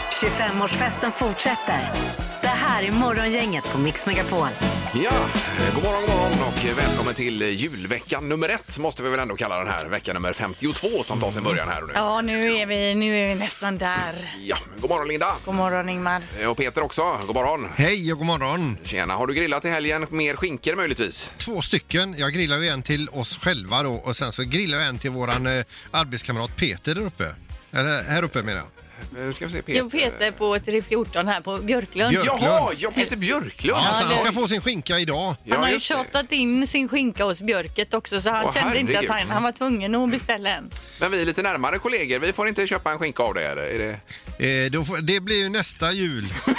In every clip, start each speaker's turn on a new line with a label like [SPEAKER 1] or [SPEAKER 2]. [SPEAKER 1] 25-årsfesten fortsätter. Det här är Morgongänget på Mix Megapol.
[SPEAKER 2] Ja, eh, god morgon, god morgon och välkommen till eh, julveckan nummer ett måste vi väl ändå kalla den här. Vecka nummer 52 som tar sin
[SPEAKER 3] Mm.
[SPEAKER 2] början här och nu.
[SPEAKER 4] Ja, nu är vi, nu är vi nästan där.
[SPEAKER 2] Ja, god morgon Linda!
[SPEAKER 4] God morgon Ingmar.
[SPEAKER 2] Eh, Och Peter också, god morgon!
[SPEAKER 3] Hej och god morgon!
[SPEAKER 2] Tjena, har du grillat i helgen? Mer skinker möjligtvis?
[SPEAKER 3] Två stycken. Jag grillar ju en till oss själva då och sen så grillar jag en till våran eh, arbetskamrat Peter där uppe. Eller här uppe menar jag.
[SPEAKER 2] Eh, Ska vi se,
[SPEAKER 5] Jo, Peter på 314 här på Björklund.
[SPEAKER 3] Björk.
[SPEAKER 2] Jaha, ja, Peter Björklund!
[SPEAKER 3] Ja, alltså, han
[SPEAKER 2] det-
[SPEAKER 3] ska få sin skinka idag.
[SPEAKER 2] Ja,
[SPEAKER 5] han har ju
[SPEAKER 2] just det.
[SPEAKER 5] tjatat in sin skinka hos Björket också så han
[SPEAKER 2] Åh,
[SPEAKER 5] kände inte
[SPEAKER 2] herregud.
[SPEAKER 5] att han, han var tvungen att beställa en.
[SPEAKER 2] Men vi är lite närmare kollegor, vi får inte köpa en skinka av dig eller? Är det...
[SPEAKER 3] Eh, då får, det blir ju nästa jul.
[SPEAKER 5] Han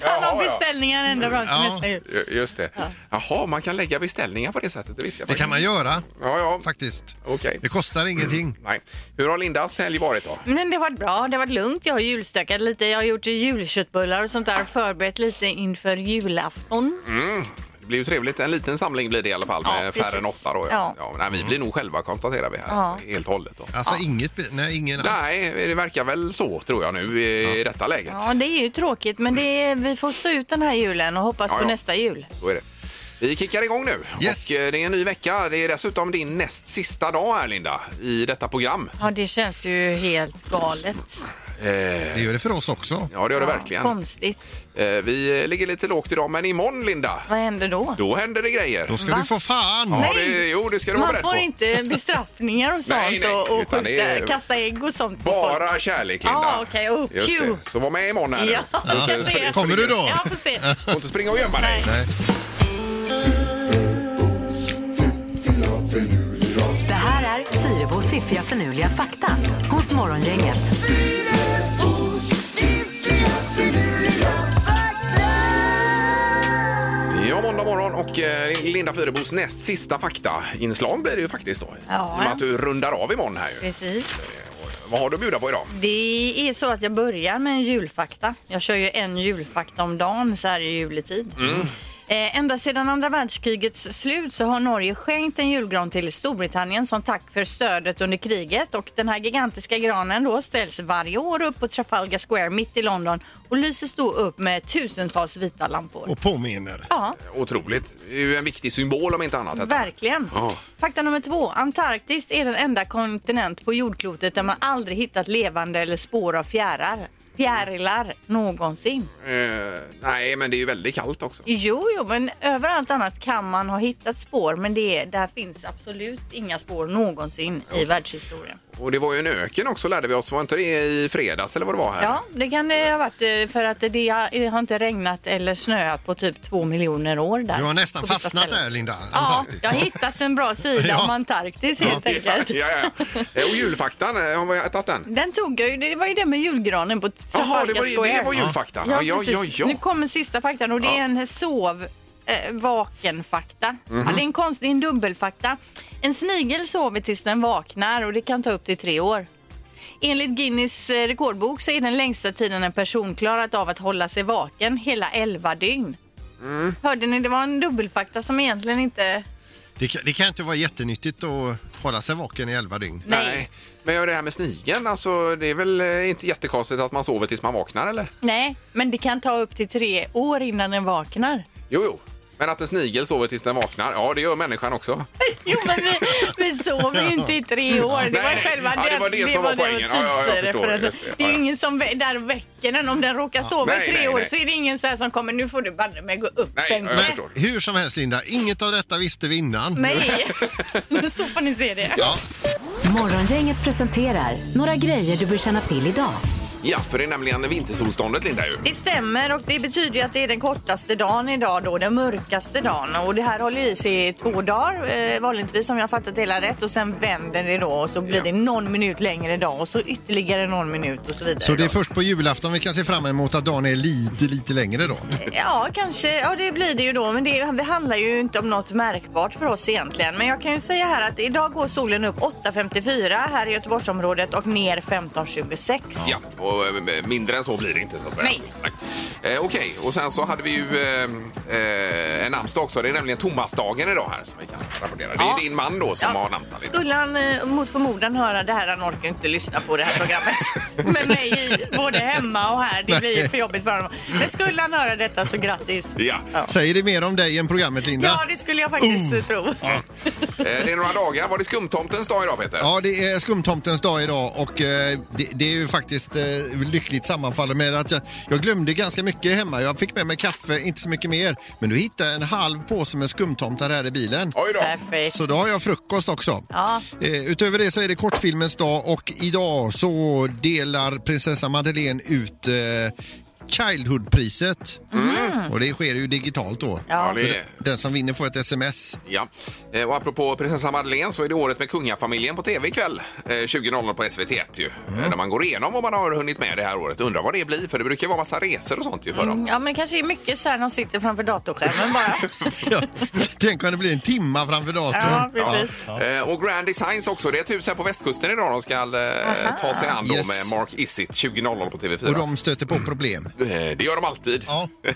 [SPEAKER 2] Jaha, ja.
[SPEAKER 5] har beställningar ända fram till
[SPEAKER 3] Ja.
[SPEAKER 5] nästa jul.
[SPEAKER 2] Ju- Just det. Jaha, man kan lägga beställningar på det sättet, det visste jag
[SPEAKER 3] Det kan man
[SPEAKER 2] faktiskt
[SPEAKER 3] göra
[SPEAKER 2] inte. Ja, ja.
[SPEAKER 3] faktiskt.
[SPEAKER 2] Okej.
[SPEAKER 3] Det kostar ingenting.
[SPEAKER 2] Nej. Hur har Lindas helg varit då?
[SPEAKER 5] Men det har varit bra, det har varit lugnt. Jag har julstökat lite, jag har gjort julköttbullar och sånt där och förberett lite inför julafton.
[SPEAKER 2] Mm. Det blir ju trevligt. En liten samling blir det i alla fall
[SPEAKER 5] Ja,
[SPEAKER 2] med färre
[SPEAKER 5] precis.
[SPEAKER 2] än åtta. Då, ja.
[SPEAKER 5] Ja. Mm.
[SPEAKER 2] Ja, nej, vi blir nog själva konstaterar vi här. Alltså, helt och hållet. Då.
[SPEAKER 3] Alltså inget, be- nej ingen alls.
[SPEAKER 2] Nej, det verkar väl så tror jag nu i i detta läget.
[SPEAKER 5] Ja, det är ju tråkigt men det är, vi får stå ut den här julen och hoppas
[SPEAKER 2] Ja,
[SPEAKER 5] på
[SPEAKER 2] ja.
[SPEAKER 5] nästa jul.
[SPEAKER 2] Så är det. Vi kickar igång nu
[SPEAKER 3] Yes.
[SPEAKER 2] och eh, det är en ny vecka. Det är dessutom din näst sista dag här Linda i detta program.
[SPEAKER 5] Ja, det känns ju helt galet.
[SPEAKER 3] Det gör det för oss också.
[SPEAKER 2] Ja, Eh, det gör det verkligen.
[SPEAKER 5] Konstigt.
[SPEAKER 2] Eh, Vi eh, ligger lite lågt idag, men imorgon Linda,
[SPEAKER 5] Vad händer då?
[SPEAKER 2] då händer det grejer.
[SPEAKER 3] Då ska
[SPEAKER 5] Va?
[SPEAKER 3] du få fan!
[SPEAKER 2] Ja,
[SPEAKER 5] Nej.
[SPEAKER 2] det, jo, det ska du vara
[SPEAKER 5] Man
[SPEAKER 2] beredd
[SPEAKER 5] får
[SPEAKER 2] på.
[SPEAKER 5] inte bestraffningar och sånt
[SPEAKER 2] Nej, nej,
[SPEAKER 5] och, och
[SPEAKER 2] utan
[SPEAKER 5] skjuta,
[SPEAKER 2] det är-
[SPEAKER 5] kasta ägg och sånt på folk.
[SPEAKER 2] Bara kärlek Linda.
[SPEAKER 5] Ja, okej. Oh,
[SPEAKER 2] Just det.
[SPEAKER 5] phew.
[SPEAKER 2] Så var med imorgon här nu.
[SPEAKER 5] Ja,
[SPEAKER 2] Du ska
[SPEAKER 5] jag
[SPEAKER 2] springa-
[SPEAKER 5] ser.
[SPEAKER 3] Kommer du då?
[SPEAKER 5] Ja, får se.
[SPEAKER 2] Får inte springa och gömma dig.
[SPEAKER 3] Nej.
[SPEAKER 1] Det här är Fyrabos fiffiga förnuliga fakta hos Morgongänget.
[SPEAKER 2] Ja, måndag morgon och eh, Linda Fyrebos näst sista faktainslag blir det ju faktiskt då.
[SPEAKER 5] Ja.
[SPEAKER 2] I och med att du rundar av imorgon här ju. Eh,
[SPEAKER 5] Precis.
[SPEAKER 2] Vad har du att bjuda på idag?
[SPEAKER 5] Det är så att jag börjar med en julfakta. Jag kör ju en julfakta om dagen så här i juletid.
[SPEAKER 3] Mm.
[SPEAKER 5] Eh, ända sedan andra världskrigets slut så har Norge skänkt en julgran till Storbritannien som tack för stödet under kriget. Och den här gigantiska granen då ställs varje år upp på Trafalgar Square mitt i London och lyses då upp med tusentals vita lampor.
[SPEAKER 3] Och påminner.
[SPEAKER 5] Ja.
[SPEAKER 2] Eh, Otroligt. Det är ju en viktig symbol om inte annat. detta.
[SPEAKER 5] Verkligen.
[SPEAKER 2] Ja.
[SPEAKER 5] Fakta nummer två. Antarktis är den enda kontinent på jordklotet där man aldrig hittat levande eller spår av fjärar. Fjärilar någonsin.
[SPEAKER 2] Eh, nej, men det är ju väldigt kallt också.
[SPEAKER 5] Jo, jo, men överallt annat kan man ha hittat spår men det, är- där finns absolut inga spår någonsin i världshistorien.
[SPEAKER 2] Och det var ju en öken också lärde vi oss. Var inte det i fredags eller vad det var här?
[SPEAKER 5] Ja, det kan det ha varit eh, för att det har inte regnat eller snöat på typ två miljoner år där.
[SPEAKER 3] Du har nästan
[SPEAKER 5] på vissa
[SPEAKER 3] fastnat
[SPEAKER 5] ställen.
[SPEAKER 3] där Linda.
[SPEAKER 5] Ja,
[SPEAKER 3] Antarktis.
[SPEAKER 5] jag har hittat en bra sida
[SPEAKER 3] Ja.
[SPEAKER 5] om Antarktis helt enkelt.
[SPEAKER 2] Ja, ja, ja. Eh, Och julfaktan, eh, har vi tagit den?
[SPEAKER 5] Den tog jag ju, det var ju det med julgranen på
[SPEAKER 2] Jaha, det
[SPEAKER 5] Trafalgar
[SPEAKER 2] var,
[SPEAKER 5] Square.
[SPEAKER 2] det var julfaktan. Ja,
[SPEAKER 5] Ja,
[SPEAKER 2] ja, ja,
[SPEAKER 5] precis.
[SPEAKER 2] ja.
[SPEAKER 5] Nu kommer sista faktan och det
[SPEAKER 2] Ja.
[SPEAKER 5] är en sov eh, vaken-fakta.
[SPEAKER 2] Mhm.
[SPEAKER 5] Ja, det är en konstig, en dubbelfakta. En snigel sover tills den vaknar och det kan ta upp till tre år. Enligt Guinness eh, rekordbok så är den längsta tiden en person klarat av att hålla sig vaken hela elva dygn.
[SPEAKER 2] Mm.
[SPEAKER 5] Hörde ni, det var en dubbelfakta som egentligen inte...
[SPEAKER 3] Det, kan, det kan inte vara jättenyttigt att hålla sig vaken i elva dygn.
[SPEAKER 2] Nej. Men ja, det här med snigeln, alltså, det är väl eh, inte jättekonstigt att man sover tills man vaknar eller?
[SPEAKER 5] Nej, men det kan ta upp till tre år innan den vaknar.
[SPEAKER 2] Jo, jo. Men att en snigel sover tills den vaknar, ja det gör människan också.
[SPEAKER 5] Jo, men vi, vi sover ju inte i tre år. Det
[SPEAKER 2] Nej,
[SPEAKER 5] var
[SPEAKER 2] nej.
[SPEAKER 5] själva
[SPEAKER 2] Ja, det var det som var
[SPEAKER 5] den
[SPEAKER 2] poängen. Ja, ja, jag förstår.
[SPEAKER 5] tidsreferensen.
[SPEAKER 2] Just det. Ja,
[SPEAKER 5] Det är ju
[SPEAKER 2] ja.
[SPEAKER 5] ingen som vä- där väcker den. Om den råkar sova
[SPEAKER 2] Nej,
[SPEAKER 5] i tre
[SPEAKER 2] nej,
[SPEAKER 5] år
[SPEAKER 2] nej.
[SPEAKER 5] så är det ingen så här som kommer nu får du banne mig gå upp
[SPEAKER 2] Nej,
[SPEAKER 5] Bengt.
[SPEAKER 2] jag förstår.
[SPEAKER 3] Hur som helst Linda, inget av detta visste vi innan.
[SPEAKER 5] Nej, så får ni se det.
[SPEAKER 3] Ja.
[SPEAKER 1] Morgongänget presenterar några grejer du bör känna till idag.
[SPEAKER 2] Ja, för det är nämligen vintersolståndet Linda ju.
[SPEAKER 5] Det stämmer och det betyder ju att det är den kortaste dagen idag då, den mörkaste dagen. Och det här håller i sig i två dagar eh, vanligtvis om jag har fattat det hela rätt och sen vänder det då och så blir det någon minut längre idag och så ytterligare någon minut och så vidare.
[SPEAKER 3] Så det
[SPEAKER 5] då.
[SPEAKER 3] är först på julafton vi kan se fram emot att dagen är lite, lite längre då.
[SPEAKER 5] Ja, kanske. Ja, det blir det ju då. Men det, det handlar ju inte om något märkbart för oss egentligen. Men jag kan ju säga här att idag går solen upp 8.54 här i Göteborgsområdet och ner 15.26.
[SPEAKER 2] Ja, och och eh, mindre än så blir det inte så att säga.
[SPEAKER 5] Nej.
[SPEAKER 2] Eh, Okej, och sen så hade vi ju eh, eh, en namnsdag också. Det är nämligen Tomasdagen idag här som vi kan rapportera. Det är
[SPEAKER 5] Ja.
[SPEAKER 2] din man då som har namnsdag. idag.
[SPEAKER 5] Skulle han eh, mot förmodan höra det här, han orkar inte lyssna på det här programmet med mig i, både hemma och här. Det blir för jobbigt för honom. Men skulle han höra detta så grattis.
[SPEAKER 2] Ja.
[SPEAKER 3] Säger det mer om dig än programmet, Linda?
[SPEAKER 5] Ja, det skulle jag faktiskt eh, tro.
[SPEAKER 2] Eh, det är några dagar. Var det skumtomtens dag idag Peter?
[SPEAKER 3] Ja, det är skumtomtens dag idag och eh, det, det är ju faktiskt eh, lyckligt sammanfallet med att jag, jag glömde ganska mycket hemma. Jag fick med mig kaffe, inte så mycket mer. Men du hittade jag en halv påse med skumtomtar här i bilen.
[SPEAKER 2] Oj då.
[SPEAKER 5] Perfekt.
[SPEAKER 3] Så då har jag frukost också.
[SPEAKER 5] Ja.
[SPEAKER 3] Eh, utöver det så är det kortfilmens dag och idag så delar prinsessa Madeleine ut eh, Childhood-priset.
[SPEAKER 5] Mm.
[SPEAKER 3] Och det sker ju digitalt då.
[SPEAKER 2] Ja,
[SPEAKER 3] Så
[SPEAKER 2] det
[SPEAKER 3] den-
[SPEAKER 2] är...
[SPEAKER 3] Den som vinner får ett sms.
[SPEAKER 2] Ja. Eh, Och apropå prinsessa Madeleine så är det året med kungafamiljen på tv ikväll. Eh, 20.00 på SVT1 ju.
[SPEAKER 3] Mm.
[SPEAKER 2] Eh, Där man går igenom om man har hunnit med det här året. Undrar vad det blir för det brukar vara massa resor och sånt ju för
[SPEAKER 3] Mm.
[SPEAKER 2] dem.
[SPEAKER 5] Mm, Ja, men det kanske är mycket så här när de sitter framför datorskärmen bara.
[SPEAKER 3] Ja. Tänk om det blir en timma framför datorn.
[SPEAKER 5] Ja, precis.
[SPEAKER 2] Eh, Och Grand Designs också. Det är ett hus här på västkusten idag de ska eh, ta sig an då
[SPEAKER 3] Yes.
[SPEAKER 2] med Mark Isitt 20.00 på TV4.
[SPEAKER 3] Och de stöter på problem.
[SPEAKER 2] Eh, Det gör de alltid.
[SPEAKER 3] Ja.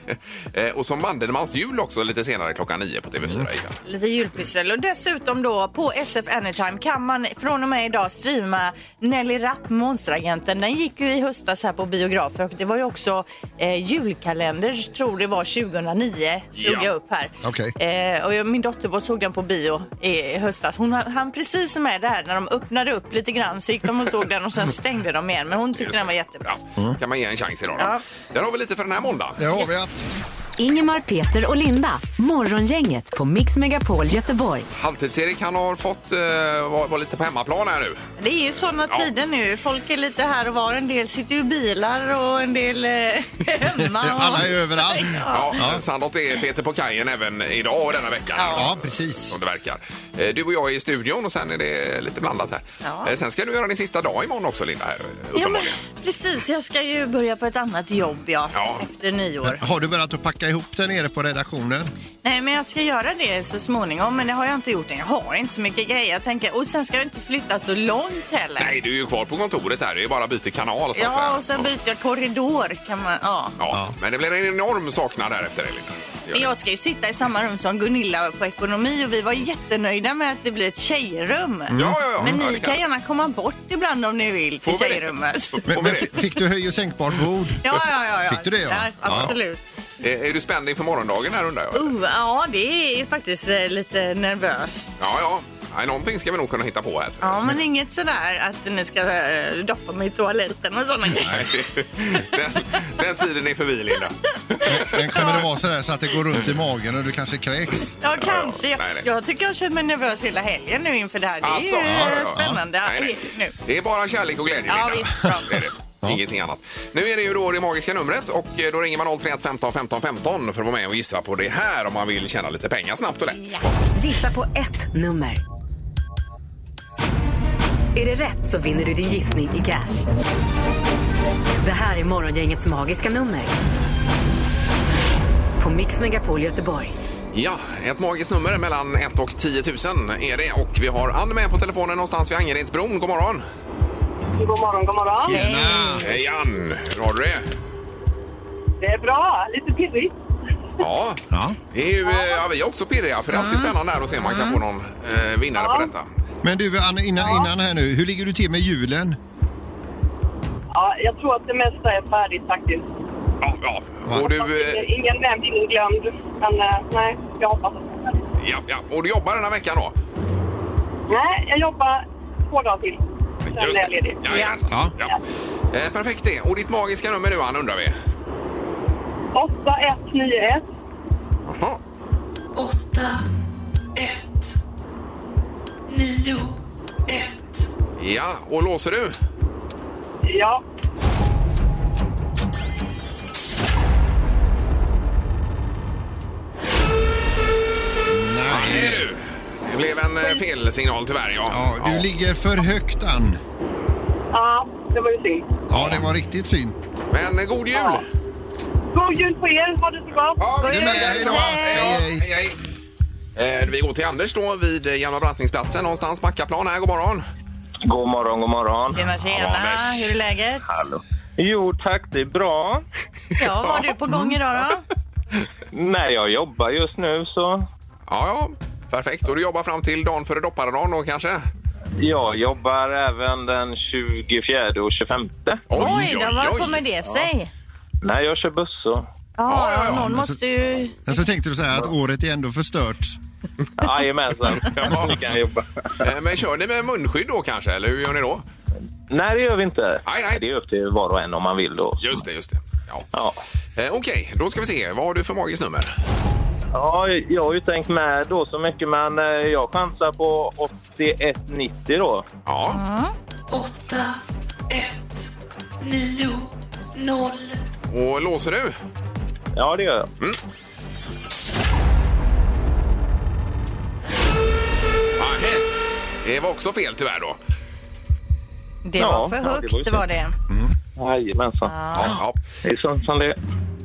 [SPEAKER 2] Eh, och så Mandelmans jul också lite senare klockan nio på TV4
[SPEAKER 3] Mm.
[SPEAKER 2] ikväll.
[SPEAKER 5] Lite julpyssel. Och dessutom då på SF Anytime kan man från och med idag streama Nelly Rapp, Monsteragenten. Den gick ju i höstas här på biografer och det var ju också eh, julkalender, tror det var 2009, slog
[SPEAKER 2] Ja.
[SPEAKER 5] jag upp här.
[SPEAKER 3] Okej.
[SPEAKER 5] Eh, och jag, min dotter var, såg den på bio i höstas. Hon hann precis med det här när de öppnade upp lite grann så gick de och såg den och sen stängde de igen. Men hon tyckte den var jättebra.
[SPEAKER 2] Ja. kan man ge en chans idag då.
[SPEAKER 5] Ja.
[SPEAKER 2] Där har vi lite för den här måndagen.
[SPEAKER 3] Mm. Där har vi att.
[SPEAKER 1] Ingemar, Peter och Linda. Morgongänget på Mix Megapol Göteborg.
[SPEAKER 2] Halvtids-Erik han har fått eh, vara vara lite på hemmaplan här nu.
[SPEAKER 5] Det är ju sådana
[SPEAKER 2] Ja.
[SPEAKER 5] tider nu. Folk är lite här och var. En del sitter ju i bilar och en del eh, hemma. Och...
[SPEAKER 3] Alla är överallt.
[SPEAKER 2] Ja. Sandholt är Peter på kajen även idag och denna veckan.
[SPEAKER 3] Ja, precis.
[SPEAKER 2] Som det verkar. Eh, Du och jag är i studion och sen är det lite blandat här.
[SPEAKER 5] Ja.
[SPEAKER 2] Eh, Sen ska du göra din sista dag imorgon också Linda. Här,
[SPEAKER 5] Ja, men,
[SPEAKER 2] uppenbarligen.
[SPEAKER 5] precis, jag ska ju börja på ett annat jobb ja,
[SPEAKER 2] Ja.
[SPEAKER 5] efter nyår.
[SPEAKER 3] Har du börjat att packa ihop där nere på redaktionen?
[SPEAKER 5] Nej, men jag ska göra det så småningom, men det har jag inte gjort än. Jag har inte så mycket grejer. Jag tänker, och sen ska jag inte flytta så långt heller.
[SPEAKER 2] Nej, du är ju kvar på kontoret här. Det är bara att byta kanal så att säga.
[SPEAKER 5] ja, och sen byter jag korridor kan man, ja.
[SPEAKER 2] Ja. Men det blir en enorm saknad här efter det Linda. Det gör
[SPEAKER 5] Men
[SPEAKER 2] det.
[SPEAKER 5] jag ska ju sitta i samma rum som Gunilla på ekonomi och vi var jättenöjda med att det blir ett tjejrum.
[SPEAKER 2] Mm. Ja, ja, ja.
[SPEAKER 5] Men
[SPEAKER 2] Ja, det
[SPEAKER 5] ni
[SPEAKER 2] kan
[SPEAKER 5] kan
[SPEAKER 2] jag.
[SPEAKER 5] gärna komma bort ibland om ni vill till
[SPEAKER 2] Får vi det?
[SPEAKER 5] tjejrummet.
[SPEAKER 3] Men,
[SPEAKER 2] Får
[SPEAKER 3] men
[SPEAKER 2] vi
[SPEAKER 3] f- fick du höj och sänkbart bord?
[SPEAKER 5] Ja, ja, ja, ja.
[SPEAKER 3] Fick du det, ja?
[SPEAKER 5] Ja, absolut.
[SPEAKER 2] det? Eh, Är du spänd inför morgondagen här undrar jag?
[SPEAKER 5] Oh, ja, det är faktiskt eh, lite nervöst.
[SPEAKER 2] Ja, ja. Nej, någonting ska vi nog kunna hitta på här. Så.
[SPEAKER 5] Ja, men inget sådär att ni ska eh, doppa mig i toaletten och sådana grejer.
[SPEAKER 2] den, den tiden är förbi, Linda.
[SPEAKER 3] Men kommer det vara sådär så att det går runt i magen och du kanske kräks?
[SPEAKER 5] Ja,
[SPEAKER 2] ja.
[SPEAKER 5] kanske. Jag,
[SPEAKER 2] Nej, nej.
[SPEAKER 5] jag tycker jag känner mig nervös hela helgen nu inför det här. Det är
[SPEAKER 2] Alltså,
[SPEAKER 5] ju eh,
[SPEAKER 2] ja, ja, ja.
[SPEAKER 5] spännande
[SPEAKER 2] Nej, nej.
[SPEAKER 5] nu.
[SPEAKER 2] Det är bara kärlek och glädje,
[SPEAKER 5] Ja,
[SPEAKER 2] Linda.
[SPEAKER 5] visst, bra.
[SPEAKER 2] Det är det. Ingenting annat. Nu är det ju då det magiska numret och då ringer man 031 15 15 15 för att vara med och gissa på det här om man vill tjäna lite pengar snabbt och lätt.
[SPEAKER 1] Gissa på ett nummer. Är det rätt så vinner du din gissning i cash. Det här är Morgongängets magiska nummer. På Mix Megapol Göteborg.
[SPEAKER 2] Ja, ett magiskt nummer mellan 1 och 10 000 är det och vi har Ann med på telefonen någonstans vid Angeredsbron. God morgon!
[SPEAKER 6] God morgon, god morgon.
[SPEAKER 3] Tjena!
[SPEAKER 2] Hej Ann! Hur har du det?
[SPEAKER 6] Det är bra. Lite pirrigt.
[SPEAKER 2] Ja,
[SPEAKER 3] Ja.
[SPEAKER 2] det är ju, eh, ja, vi är också pirriga för det är alltid spännande här att se om man kan få någon eh, vinnare på detta.
[SPEAKER 3] Men du, Anna, innan, innan här nu, hur ligger du till med julen?
[SPEAKER 6] Ja, jag tror att det mesta är färdigt faktiskt.
[SPEAKER 2] Ja, ja. Och du, eh,
[SPEAKER 6] Ingen nämnd, ingen glömd. Men eh, nej, jag hoppas att det är färdigt.
[SPEAKER 2] ja, ja. och du jobbar den här veckan då?
[SPEAKER 6] Nej, jag jobbar två dagar till. Sen är jag ledig.
[SPEAKER 2] Ja, ja.
[SPEAKER 3] Ja.
[SPEAKER 2] Ja. Eh, perfekt det. Och ditt magiska nummer nu, Ann, undrar vi?
[SPEAKER 6] 8191.
[SPEAKER 2] Jaha.
[SPEAKER 7] åtta, ett, nio, ett.
[SPEAKER 2] Ja, och låser du?
[SPEAKER 6] Ja.
[SPEAKER 2] Nej, det är du. Det blev en eh, felsignal tyvärr, ja.
[SPEAKER 3] Ja, du ligger för högt, Ann.
[SPEAKER 6] ja, det var ju synd.
[SPEAKER 3] Ja, det var riktigt synd.
[SPEAKER 2] Men eh, god jul!
[SPEAKER 6] Ja. God jul på er. Ha det så bra.
[SPEAKER 2] Ja,
[SPEAKER 3] Du är med, hej då! Hej, hej.
[SPEAKER 2] hej, hej. Eh, Vi går till Anders då vid eh, Hjalmar Brantningsplatsen någonstans, Backaplan här. God morgon!
[SPEAKER 8] God morgon, god morgon.
[SPEAKER 5] Tjena, tjena.
[SPEAKER 2] Ja, men-
[SPEAKER 5] Hur är läget?
[SPEAKER 8] Hallå. Jo tack, det är bra.
[SPEAKER 5] Ja, vad har du på gång idag då?
[SPEAKER 8] Nej, jag jobbar just nu så
[SPEAKER 2] Ja, ja. Perfekt. Och du jobbar fram till dagen före dopparedagen då kanske?
[SPEAKER 8] jag jobbar även den 24 och 25.
[SPEAKER 5] Oj då, vad kommer det sig?
[SPEAKER 8] Nej, jag kör bussor.
[SPEAKER 5] Ja,
[SPEAKER 2] ja, ja,
[SPEAKER 5] någon måste ju...
[SPEAKER 3] Men så tänkte du så här att året är ändå förstört.
[SPEAKER 8] Jajamensan,
[SPEAKER 2] Ja.
[SPEAKER 8] ni kan jobba.
[SPEAKER 2] Eh, Men kör ni med munskydd då kanske, eller hur gör ni då?
[SPEAKER 8] Nej, det gör vi inte.
[SPEAKER 2] Nej, nej.
[SPEAKER 8] Det är upp till var och en om man vill då.
[SPEAKER 2] Just det, just det. Ja.
[SPEAKER 8] Ja.
[SPEAKER 2] Eh, Okej, då ska vi se. Vad har du för magiskt nummer?
[SPEAKER 8] ja, jag har ju tänkt med då så mycket men eh, jag chansar på 81,90 då.
[SPEAKER 2] Ja.
[SPEAKER 7] 8, 1, 9, 0.
[SPEAKER 2] Och låser du? Mm.
[SPEAKER 8] Ja, det gör jag.
[SPEAKER 2] Ahe. Det var också fel tyvärr då.
[SPEAKER 5] Det
[SPEAKER 8] Ja,
[SPEAKER 5] var för
[SPEAKER 8] ja, det var ju
[SPEAKER 5] högt, det
[SPEAKER 8] så.
[SPEAKER 5] var det.
[SPEAKER 8] Jajamensan.
[SPEAKER 2] Ja.
[SPEAKER 8] Det är sånt som det är.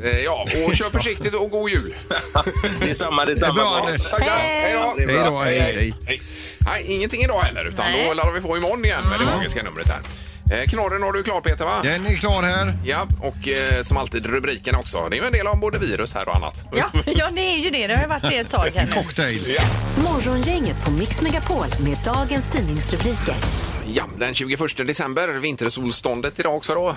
[SPEAKER 2] Ja. Eh, ja, och kör försiktigt och god jul.
[SPEAKER 8] Det är samma, det är
[SPEAKER 3] Det
[SPEAKER 8] samma.
[SPEAKER 3] är bra Anders.
[SPEAKER 2] Hej då!
[SPEAKER 8] Det är
[SPEAKER 3] Hej
[SPEAKER 8] bra.
[SPEAKER 3] då, hej, hej.
[SPEAKER 2] Nej, ingenting idag heller, utan
[SPEAKER 5] Nej.
[SPEAKER 2] då laddar vi på imorgon igen med det magiska numret här. Eh, Knorren har du klar Peter va?
[SPEAKER 3] Den är klar här.
[SPEAKER 2] Ja, och eh, som alltid rubriken också. Det är ju en del om både virus här och annat.
[SPEAKER 5] Ja, ja, det är ju det. Det har ju varit det ett tag här nu.
[SPEAKER 3] Cocktail.
[SPEAKER 1] Morgongänget på Mix Megapol med dagens tidningsrubriker.
[SPEAKER 2] Ja, den 21 december, vintersolståndet idag också då,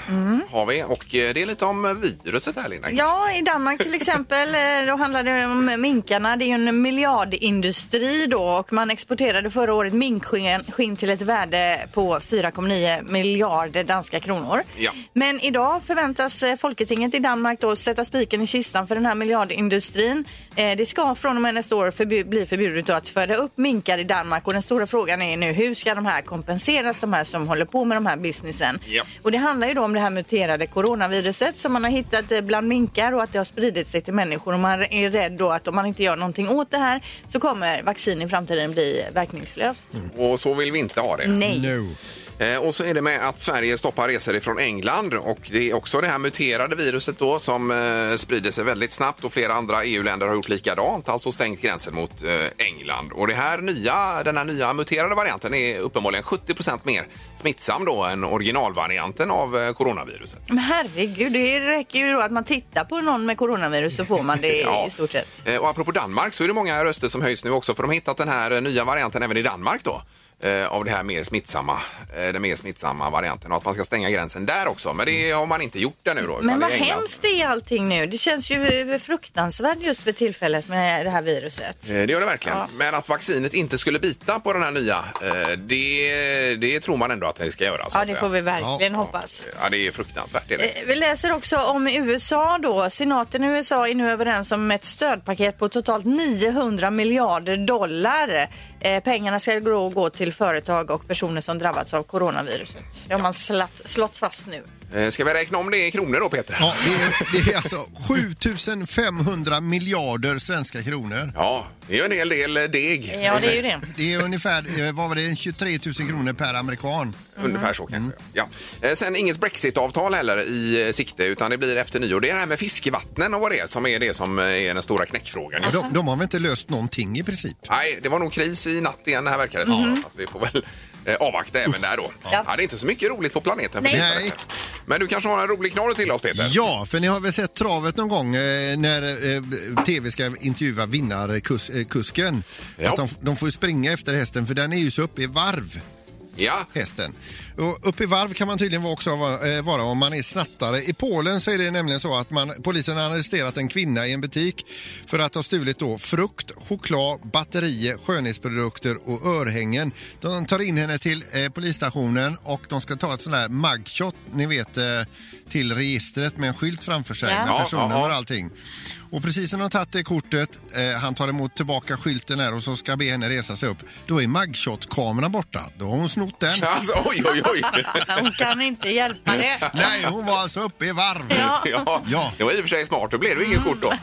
[SPEAKER 2] har vi. Och eh, det är lite om viruset här Linda.
[SPEAKER 5] Ja, i Danmark till exempel, eh, då handlar det om minkarna. Det är ju en miljardindustri då och man exporterade förra året minkskinn skinn till ett värde på 4,9 miljarder danska kronor.
[SPEAKER 2] Ja.
[SPEAKER 5] Men idag förväntas eh, Folketinget i Danmark då sätta spiken i kistan för den här miljardindustrin. Eh, Det ska från och med nästa år förbu- bli förbjudet då att föda upp minkar i Danmark och den stora frågan är nu hur ska de här kompenseras, de här som håller på med de här businessen?
[SPEAKER 2] Ja.
[SPEAKER 5] Och det handlar ju då om det här muterade coronaviruset som man har hittat eh, bland minkar och att det har spridit sig till människor och man är rädd då att om man inte gör någonting åt det här så kommer vaccin i framtiden bli verkningslöst.
[SPEAKER 2] Mm. Och så vill vi inte ha det.
[SPEAKER 5] Nej.
[SPEAKER 3] No.
[SPEAKER 2] Eh, och så är det med att Sverige stoppar resor ifrån England och det är också det här muterade viruset då som eh, sprider sig väldigt snabbt och flera andra EU-länder har gjort likadant, alltså stängt gränsen mot eh, England. Och det här nya, den här nya muterade varianten är uppenbarligen 70 mer smittsam då än originalvarianten av eh, coronaviruset.
[SPEAKER 5] Men herregud, det räcker ju då att man tittar på någon med coronavirus så får man det
[SPEAKER 2] Ja.
[SPEAKER 5] i stort sett.
[SPEAKER 2] Eh, Och apropå Danmark så är det många röster som höjs nu också för de har hittat den här eh, nya varianten även i Danmark då. eh, Av det här mer smittsamma, eh, den mer smittsamma varianten och att man ska stänga gränsen där också. Men det har man inte gjort ännu då. utan
[SPEAKER 5] Men
[SPEAKER 2] det
[SPEAKER 5] vad
[SPEAKER 2] är England.
[SPEAKER 5] hemskt det är allting nu. Det känns ju fruktansvärt just för tillfället med det här viruset.
[SPEAKER 2] Eh, Det gör det verkligen. Men att vaccinet inte skulle bita på den här nya, eh, det, det tror man ändå att det ska göra. Så
[SPEAKER 5] Ja,
[SPEAKER 2] att
[SPEAKER 5] det
[SPEAKER 2] säga.
[SPEAKER 5] får vi verkligen hoppas.
[SPEAKER 2] Ja, det är fruktansvärt. Det är det.
[SPEAKER 5] Eh, Vi läser också om USA då. Senaten i USA är nu överens om ett stödpaket på totalt 900 miljarder dollar. Eh, pengarna ska gå, gå till företag och personer som drabbats av coronaviruset. Det har man slatt, slått fast nu.
[SPEAKER 2] Eh, Ska vi räkna om det i kronor då, Peter?
[SPEAKER 3] Ja, det, är, det är alltså 7500 miljarder svenska kronor.
[SPEAKER 2] Ja, det är ju en hel del eh, deg.
[SPEAKER 5] Ja, det är ju det.
[SPEAKER 3] Det är ungefär eh, vad var det, 23 000 kronor per amerikan.
[SPEAKER 5] Mm.
[SPEAKER 2] Ungefär så kanske.
[SPEAKER 3] Mm.
[SPEAKER 2] Ja. Eh, Sen inget Brexit-avtal heller i eh, sikte utan det blir efter nyår. Det är det här med fiskevattnen och vad det är som är det som eh, är den stora knäckfrågan. ju.
[SPEAKER 3] Och de, de har väl inte löst någonting i princip?
[SPEAKER 2] Nej, det var nog kris i natt igen det här verkar det som.
[SPEAKER 3] Mhm.
[SPEAKER 2] Att vi får väl eh, avvakta även där då. Ja. det är inte så mycket roligt på planeten. för
[SPEAKER 5] Nej.
[SPEAKER 2] tillfället.
[SPEAKER 3] Nej.
[SPEAKER 2] Men du kanske har en rolig knorr till oss Peter?
[SPEAKER 3] Ja, för ni har väl sett travet någon gång eh, när eh, TV ska intervjua vinnarkusken.
[SPEAKER 2] Ja.
[SPEAKER 3] Att de, de får ju springa efter hästen för den är ju så uppe i varv,
[SPEAKER 2] Ja.
[SPEAKER 3] hästen. Och uppe i varv kan man tydligen vara också vara, eh, vara om man är snattare. I Polen så är det nämligen så att man, polisen har arresterat en kvinna i en butik för att ha stulit då frukt, choklad, batterier, skönhetsprodukter och örhängen. De tar in henne till eh, polisstationen och de ska ta ett sånt där mugshot, ni vet, eh, till registret med en skylt framför sig
[SPEAKER 5] Ja.
[SPEAKER 3] med
[SPEAKER 2] Ja,
[SPEAKER 3] personnummer
[SPEAKER 2] ja,
[SPEAKER 3] och
[SPEAKER 2] ja.
[SPEAKER 3] allting. Och precis när de har tagit det kortet, eh, han tar emot tillbaka skylten här och så ska be henne resa sig upp. Då är mugshot-kameran borta. Då har hon snott den.
[SPEAKER 2] Alltså, oj, oj, oj.
[SPEAKER 5] Hon kan inte hjälpa det.
[SPEAKER 3] Nej, hon var alltså uppe i varv.
[SPEAKER 2] Ja.
[SPEAKER 3] Ja. Mm.
[SPEAKER 2] Det var i och för sig smart, då blev det ju inget kort då.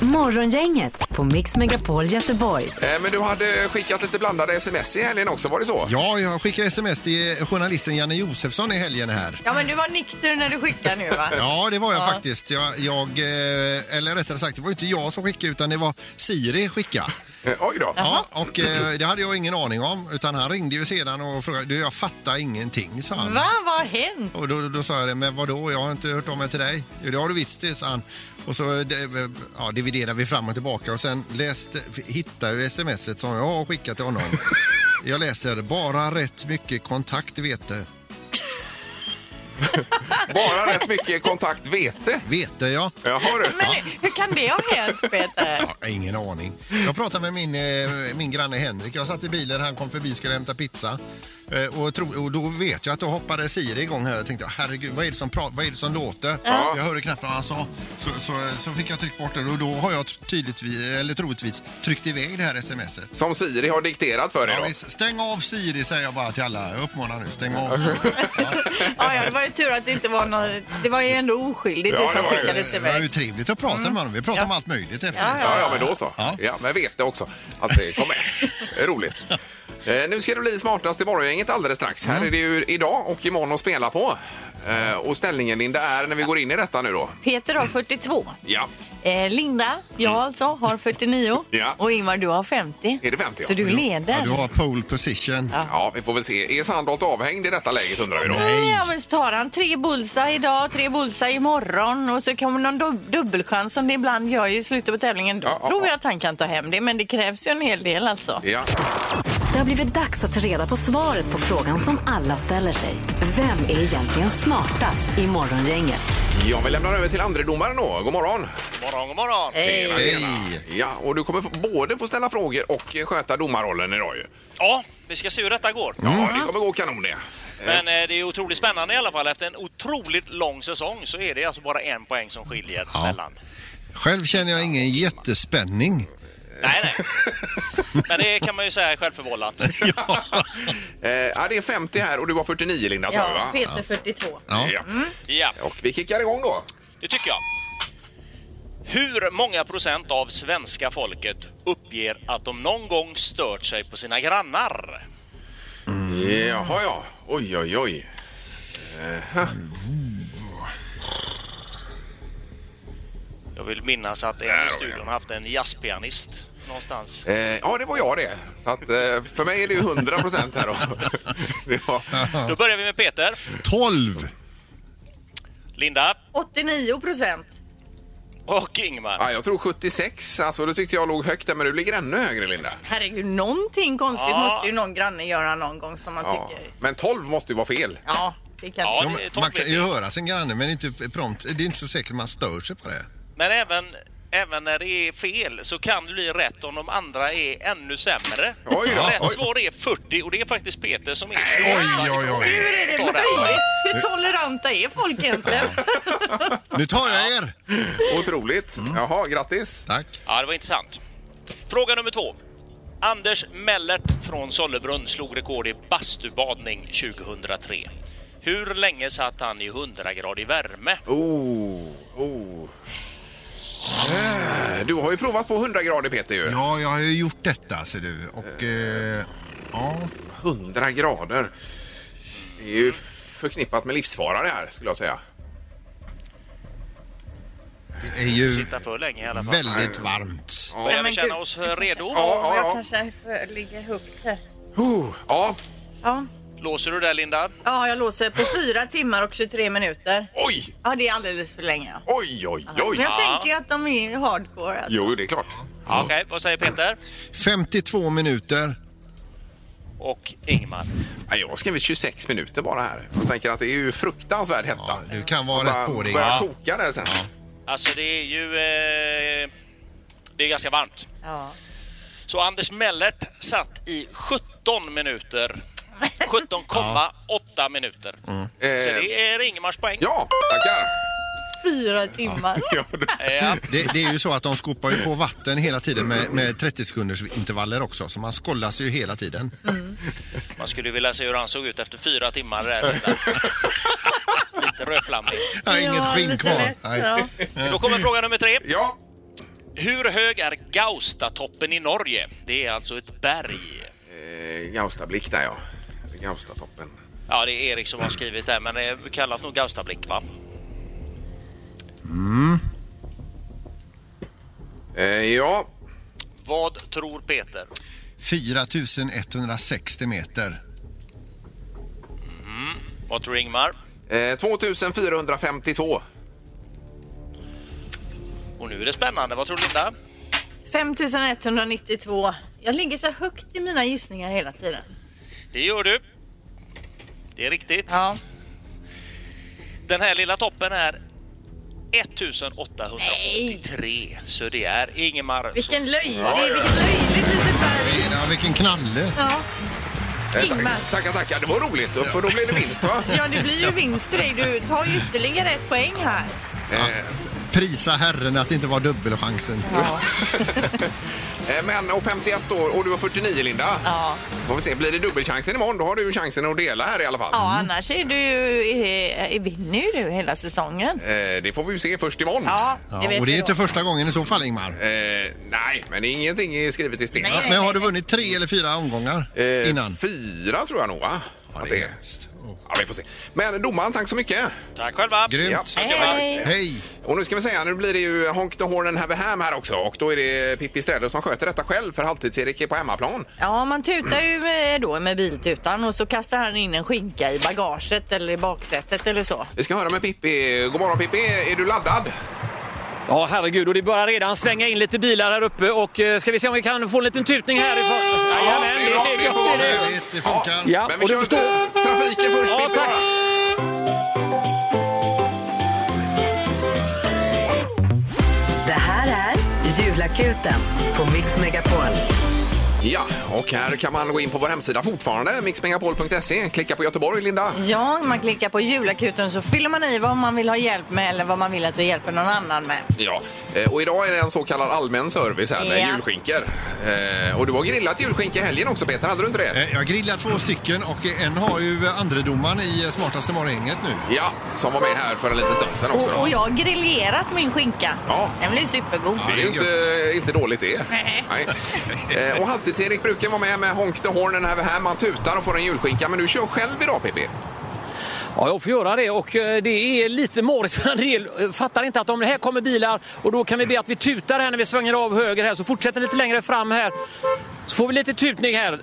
[SPEAKER 1] Morgongänget på Mix Megapol Göteborg.
[SPEAKER 2] Eh, Men du hade skickat lite blandade sms i helgen också, var det så?
[SPEAKER 3] Ja, jag skickade sms till journalisten Janne Josefsson i helgen här.
[SPEAKER 5] Ja, men du var nykter när du skickade nu va?
[SPEAKER 3] Ja, det var jag faktiskt. Jag, jag, eh, eller rättare sagt, det var ju inte jag som skickade utan det var Siri skicka.
[SPEAKER 2] Eh, Oj då.
[SPEAKER 3] Ja, och eh, det hade jag ingen aning om. Utan han ringde ju sedan och frågade. Du, jag fattar ingenting, sa han.
[SPEAKER 5] Va? Vad har hänt?
[SPEAKER 3] Mm. Och då, då sa jag det, men vadå, jag har inte hört om det till dig. Jo, det har du visst det, sa han. Och så eh, det- ja, dividerade vi fram och tillbaka och sen läste, hittade jag smset som jag har skickat till honom. Jag läser, bara rätt mycket kontakt vete.
[SPEAKER 2] Bara rätt mycket kontakt vete.
[SPEAKER 3] Vete, ja.
[SPEAKER 2] Jaha du.
[SPEAKER 5] Men hur kan det ha hänt, Peter?
[SPEAKER 3] Ja, Ingen aning. Jag pratade med min, eh, min granne Henrik. Jag satt i bilen, han kom förbi skulle hämta pizza. Eh, Och, tro, och då vet jag att då hoppade Siri igång här. Jag tänkte, herregud, vad är det som, pra- vad är det som låter? Jag hörde knappt vad han sa. Så, så, så fick jag tryckt bort det och då har jag tydligtvis, eller troligtvis tryckt iväg det här smset.
[SPEAKER 2] Som Siri har dikterat för dig
[SPEAKER 3] Ja,
[SPEAKER 2] då.
[SPEAKER 3] visst. stäng av Siri säger jag bara till alla. Jag uppmanar nu, stäng av Siri.
[SPEAKER 5] Ja, ja, det var ju tur att det inte var något... Det var ju ändå oskyldigt
[SPEAKER 2] Ja,
[SPEAKER 5] det
[SPEAKER 2] det
[SPEAKER 5] som
[SPEAKER 2] var ju-
[SPEAKER 5] skickades
[SPEAKER 3] Det var ju
[SPEAKER 5] iväg. Mm.
[SPEAKER 3] trevligt att prata med honom. Vi pratade om allt möjligt efter
[SPEAKER 5] Ja,
[SPEAKER 2] Ja, ja, men då så.
[SPEAKER 3] Ja.
[SPEAKER 2] Ja, men vete också att det kom med. Det är Roligt. Eh, nu ska det bli smartast i morgongänget alldeles strax.
[SPEAKER 3] Mm.
[SPEAKER 2] Här är det ju idag och imorgon att spela på. Eh, och ställningen Linda är när vi går in i detta nu då.
[SPEAKER 5] Peter har 42.
[SPEAKER 2] Ja,
[SPEAKER 5] Eh, Linda, jag alltså, har 49.
[SPEAKER 2] Ja.
[SPEAKER 5] Och Ingmar, du har 50.
[SPEAKER 2] är det 50?
[SPEAKER 5] Så du leder.
[SPEAKER 3] Mm. Ja, du har pole position.
[SPEAKER 2] Ja, vi får väl se. Är Sandholt avhängd i detta läget undrar vi då.
[SPEAKER 5] Nej, ja, men så tar han tre bullseye idag, tre bullseye imorgon och så kommer någon dub- dubbelchans som det ibland gör ju i slutet på tävlingen. Då
[SPEAKER 2] Ja, ja,
[SPEAKER 5] tror
[SPEAKER 2] ja.
[SPEAKER 5] jag att han kan ta hem det, men det krävs ju en hel del alltså.
[SPEAKER 2] Ja.
[SPEAKER 1] Det har blivit dags att ta reda på svaret på frågan som alla ställer sig. Vem är egentligen smartast i morgongänget?
[SPEAKER 2] ja, vi lämnar över till andredomaren då. God morgon!
[SPEAKER 9] morgon, god morgon.
[SPEAKER 5] Hej!
[SPEAKER 3] Hej!
[SPEAKER 2] Ja, och du kommer få- både få ställa frågor och eh, sköta domarrollen idag ju.
[SPEAKER 9] Ja, vi ska se hur detta går.
[SPEAKER 2] Ja, det kommer gå kanon det.
[SPEAKER 9] Mm. Men eh, det är otroligt spännande i alla fall. Efter en otroligt lång säsong så är det alltså bara en poäng som skiljer
[SPEAKER 3] Ja.
[SPEAKER 9] mellan.
[SPEAKER 3] Själv känner jag ingen jättespänning.
[SPEAKER 9] Nej, nej. Men det kan man ju säga är självförvållat.
[SPEAKER 2] Eh, ja, det är 50 här och du var 49 Linda sa du va?
[SPEAKER 5] Ja, Peter Mm. 42.
[SPEAKER 3] Ja.
[SPEAKER 2] Ja.
[SPEAKER 9] Ja,
[SPEAKER 2] Och vi kickar igång då.
[SPEAKER 9] det tycker jag. Hur många procent av svenska folket uppger att de någon gång stört sig på sina grannar?
[SPEAKER 2] Jaha ja. Oj oj oj.
[SPEAKER 9] Jag vill minnas att en
[SPEAKER 2] Där
[SPEAKER 9] i
[SPEAKER 2] har vi
[SPEAKER 9] studion har haft en jazzpianist någonstans.
[SPEAKER 2] Eh, ja det var jag det. Så att, eh, för mig är det ju 100 procent här då. det var,
[SPEAKER 9] Då börjar vi med Peter.
[SPEAKER 3] 12!
[SPEAKER 9] Linda
[SPEAKER 5] 89 procent.
[SPEAKER 9] och Ingmar.
[SPEAKER 2] ja, jag tror 76. Alltså då tyckte jag låg högt där men du ligger ännu högre Linda.
[SPEAKER 5] Herregud, någonting konstigt
[SPEAKER 9] Ja.
[SPEAKER 5] måste ju någon granne göra någon gång som man
[SPEAKER 2] Ja.
[SPEAKER 5] tycker.
[SPEAKER 2] Men 12 måste ju vara fel.
[SPEAKER 5] Ja, det kan ja.
[SPEAKER 9] Ja,
[SPEAKER 3] Ja,
[SPEAKER 9] det är
[SPEAKER 3] man
[SPEAKER 9] tolv
[SPEAKER 3] kan ju höra sin granne men inte prompt. Det är inte så säkert man stör sig på det.
[SPEAKER 9] Men även, även när det är fel så kan det bli rätt om de andra är ännu sämre.
[SPEAKER 2] Oj då,
[SPEAKER 9] rätt
[SPEAKER 2] oj.
[SPEAKER 9] svar är 40 och det är faktiskt Peter som är 28.
[SPEAKER 3] oj, oj, oj.
[SPEAKER 9] Hur är det
[SPEAKER 5] Hur toleranta är folk egentligen?
[SPEAKER 3] Nu tar jag er! Mm.
[SPEAKER 2] Otroligt. Jaha, grattis.
[SPEAKER 3] Tack.
[SPEAKER 9] Ja, det var intressant. Fråga nummer två. Anders Mellert från Sollebrunn slog rekord i bastubadning 2003. Hur länge satt han i 100 grader värme?
[SPEAKER 2] Oh, oh. Eh, Du har ju provat på 100 grader Peter ju.
[SPEAKER 3] Ja, jag har ju gjort detta ser du. Och eh, ja,
[SPEAKER 2] 100 grader. Det är ju förknippat med livsfara det här skulle jag säga.
[SPEAKER 3] det är ju
[SPEAKER 9] Sitta för länge i alla fall.
[SPEAKER 3] väldigt varmt.
[SPEAKER 9] Börjar vi
[SPEAKER 5] men
[SPEAKER 9] känna
[SPEAKER 5] gud.
[SPEAKER 9] oss eh, redo?
[SPEAKER 2] Ja,
[SPEAKER 5] Jag
[SPEAKER 2] ja,
[SPEAKER 5] kanske för- ligger högt här.
[SPEAKER 2] ja. Oh, ja.
[SPEAKER 5] Ja.
[SPEAKER 9] Låser du där Linda?
[SPEAKER 5] ja, jag låser på 4 timmar och 23 minuter.
[SPEAKER 2] Oj,
[SPEAKER 5] Ja, det är alldeles för länge. Ja.
[SPEAKER 2] oj, oj,
[SPEAKER 5] Men
[SPEAKER 2] oj.
[SPEAKER 5] jag tänker ju att de är hardcore. Alltså.
[SPEAKER 2] Jo, det är klart.
[SPEAKER 9] Ja. Okej, vad säger Peter?
[SPEAKER 3] 52 minuter.
[SPEAKER 9] Och Ingmar?
[SPEAKER 2] Nej, Jag har skrivit 26 minuter bara här. Jag tänker att det är ju fruktansvärd hetta.
[SPEAKER 3] Ja, du kan vara
[SPEAKER 2] Bara
[SPEAKER 3] rätt på dig.
[SPEAKER 2] Börja
[SPEAKER 3] Ja.
[SPEAKER 2] koka där sen.
[SPEAKER 9] Alltså det är ju... Eh, det är ganska varmt.
[SPEAKER 5] Ja.
[SPEAKER 9] Så Anders Mellert satt i 17 minuter. 17,8 minuter. Så
[SPEAKER 2] Eh,
[SPEAKER 9] det är Ingemars poäng.
[SPEAKER 2] ja, tackar.
[SPEAKER 5] Fyra timmar.
[SPEAKER 2] Ja, det-
[SPEAKER 9] Ja.
[SPEAKER 3] Det, det är ju så att de skopar ju på vatten hela tiden med, med 30 sekunders intervaller också. Så man skollas ju hela tiden.
[SPEAKER 9] Mm. Man skulle ju vilja se hur han såg ut efter fyra timmar. Där. Lite rödflammig.
[SPEAKER 3] Ja, inget skinn
[SPEAKER 5] lite
[SPEAKER 3] kvar.
[SPEAKER 5] lätt,
[SPEAKER 3] Nej.
[SPEAKER 5] ja.
[SPEAKER 9] Då kommer fråga nummer tre.
[SPEAKER 2] Mm. Ja,
[SPEAKER 9] Hur hög är Gaustatoppen i Norge? Det är alltså ett berg.
[SPEAKER 2] eh, Gaustablick där ja. Gaustatoppen.
[SPEAKER 9] Ja, det är Erik som har skrivit det, men det kallas nog Gaustablick, va?
[SPEAKER 3] Mm.
[SPEAKER 2] Eh, ja,
[SPEAKER 9] Vad tror Peter?
[SPEAKER 3] 4160 meter.
[SPEAKER 9] Mm. Vad tror Ingmar?
[SPEAKER 2] Eh, 2452.
[SPEAKER 9] Och nu är det spännande. Vad tror Linda?
[SPEAKER 5] 5192. Jag ligger så högt i mina gissningar hela tiden.
[SPEAKER 9] Det gör du. Det är riktigt.
[SPEAKER 5] Ja.
[SPEAKER 9] Den här lilla toppen är 1883. Så det är Ingemar.
[SPEAKER 5] Vilken löjlig,
[SPEAKER 9] Ja, ja.
[SPEAKER 5] vilken löjlig liten berg.
[SPEAKER 3] Ja, vilken knalle!
[SPEAKER 5] Ja.
[SPEAKER 2] Eh,
[SPEAKER 5] Ingmar.
[SPEAKER 2] tack- Tackar, tackar. Det var roligt, för då blev det vinst va?
[SPEAKER 5] ja, det blir ju vinst till dig. Du tar ju ytterligare ett poäng här.
[SPEAKER 3] Prisa herren att det inte var dubbelchansen.
[SPEAKER 2] Eh, Men, och 51 år och du var 49 Linda.
[SPEAKER 5] Ja.
[SPEAKER 2] Får vi se, blir det dubbelchansen imorgon då har du ju chansen att dela här i alla fall.
[SPEAKER 5] Ja, annars är du ju, är, är, vinner ju du hela säsongen.
[SPEAKER 2] Eh, Det får vi ju se först imorgon.
[SPEAKER 5] Ja, det
[SPEAKER 3] Ja,
[SPEAKER 5] vet
[SPEAKER 3] och det är
[SPEAKER 5] du.
[SPEAKER 3] inte första gången i så fall, Ingmar.
[SPEAKER 2] Eh, nej, men ingenting är skrivet i sten.
[SPEAKER 3] Ja, men har du vunnit tre eller fyra omgångar
[SPEAKER 2] Eh,
[SPEAKER 3] innan?
[SPEAKER 2] Fyra tror jag nog va? Ja, det är. Ja, vi får se. Men domaren, tack så mycket.
[SPEAKER 9] Tack själva.
[SPEAKER 3] Grymt.
[SPEAKER 2] Ja.
[SPEAKER 5] Hej.
[SPEAKER 3] Hej!
[SPEAKER 2] Och nu ska vi säga, nu blir det ju Honk the Horn and Have a Ham här också. Och då är det Pippi Ställer som sköter detta själv för halvtids-Erik är på hemmaplan.
[SPEAKER 5] Ja, man tutar ju eh, då med biltutan och så kastar han in en skinka i bagaget eller i baksätet eller så.
[SPEAKER 2] Vi ska höra med Pippi. God morgon Pippi, är du laddad?
[SPEAKER 10] Ja, herregud. Och det börjar redan slänga in lite bilar här uppe. Och eh, ska vi se om vi kan få en liten tutning härifrån. Jajamän, det är det.
[SPEAKER 2] får
[SPEAKER 10] det är det.
[SPEAKER 3] Jag vet, det funkar.
[SPEAKER 10] Ja,
[SPEAKER 2] Men vi
[SPEAKER 10] och du
[SPEAKER 2] kör
[SPEAKER 10] förstår.
[SPEAKER 2] trafiken först
[SPEAKER 10] Ja,
[SPEAKER 2] Pippi.
[SPEAKER 10] tack.
[SPEAKER 1] Det här är Julakuten på Mix Megapol.
[SPEAKER 2] Ja, och här kan man gå in på vår hemsida fortfarande, mixmegapol.se. Klicka på Göteborg, Linda.
[SPEAKER 5] Ja, man klickar på julakuten så fyller man i vad man vill ha hjälp med eller vad man vill att du hjälper någon annan med.
[SPEAKER 2] Ja, eh, och idag är det en så kallad allmän service här med
[SPEAKER 5] Ja.
[SPEAKER 2] julskinkor. Eh, Och du har grillat julskinka i helgen också Peter, hade du inte det?
[SPEAKER 3] Eh, Jag grillar två stycken och eh, en har ju andredomaren i eh, Smartaste morgongänget nu.
[SPEAKER 2] Ja, som var med här för en liten stund sedan också.
[SPEAKER 5] Och,
[SPEAKER 2] Då.
[SPEAKER 5] och jag har grillerat min skinka.
[SPEAKER 2] Ja.
[SPEAKER 5] Den blir supergod.
[SPEAKER 2] Det är ju
[SPEAKER 3] Ja, det
[SPEAKER 2] inte, inte dåligt det. Nej. Eh, Och Halvtids-Erik brukar vara med med Honk the Horn här här. Man tutar och får en julskinka. Men du kör själv idag Pippi.
[SPEAKER 10] Ja, jag får göra det och eh, det är lite morigt för en del eh, fattar inte att om det här kommer bilar och då kan vi be att vi tutar här när vi svänger av höger här så fortsätter lite längre fram här. Så får vi lite tutning här.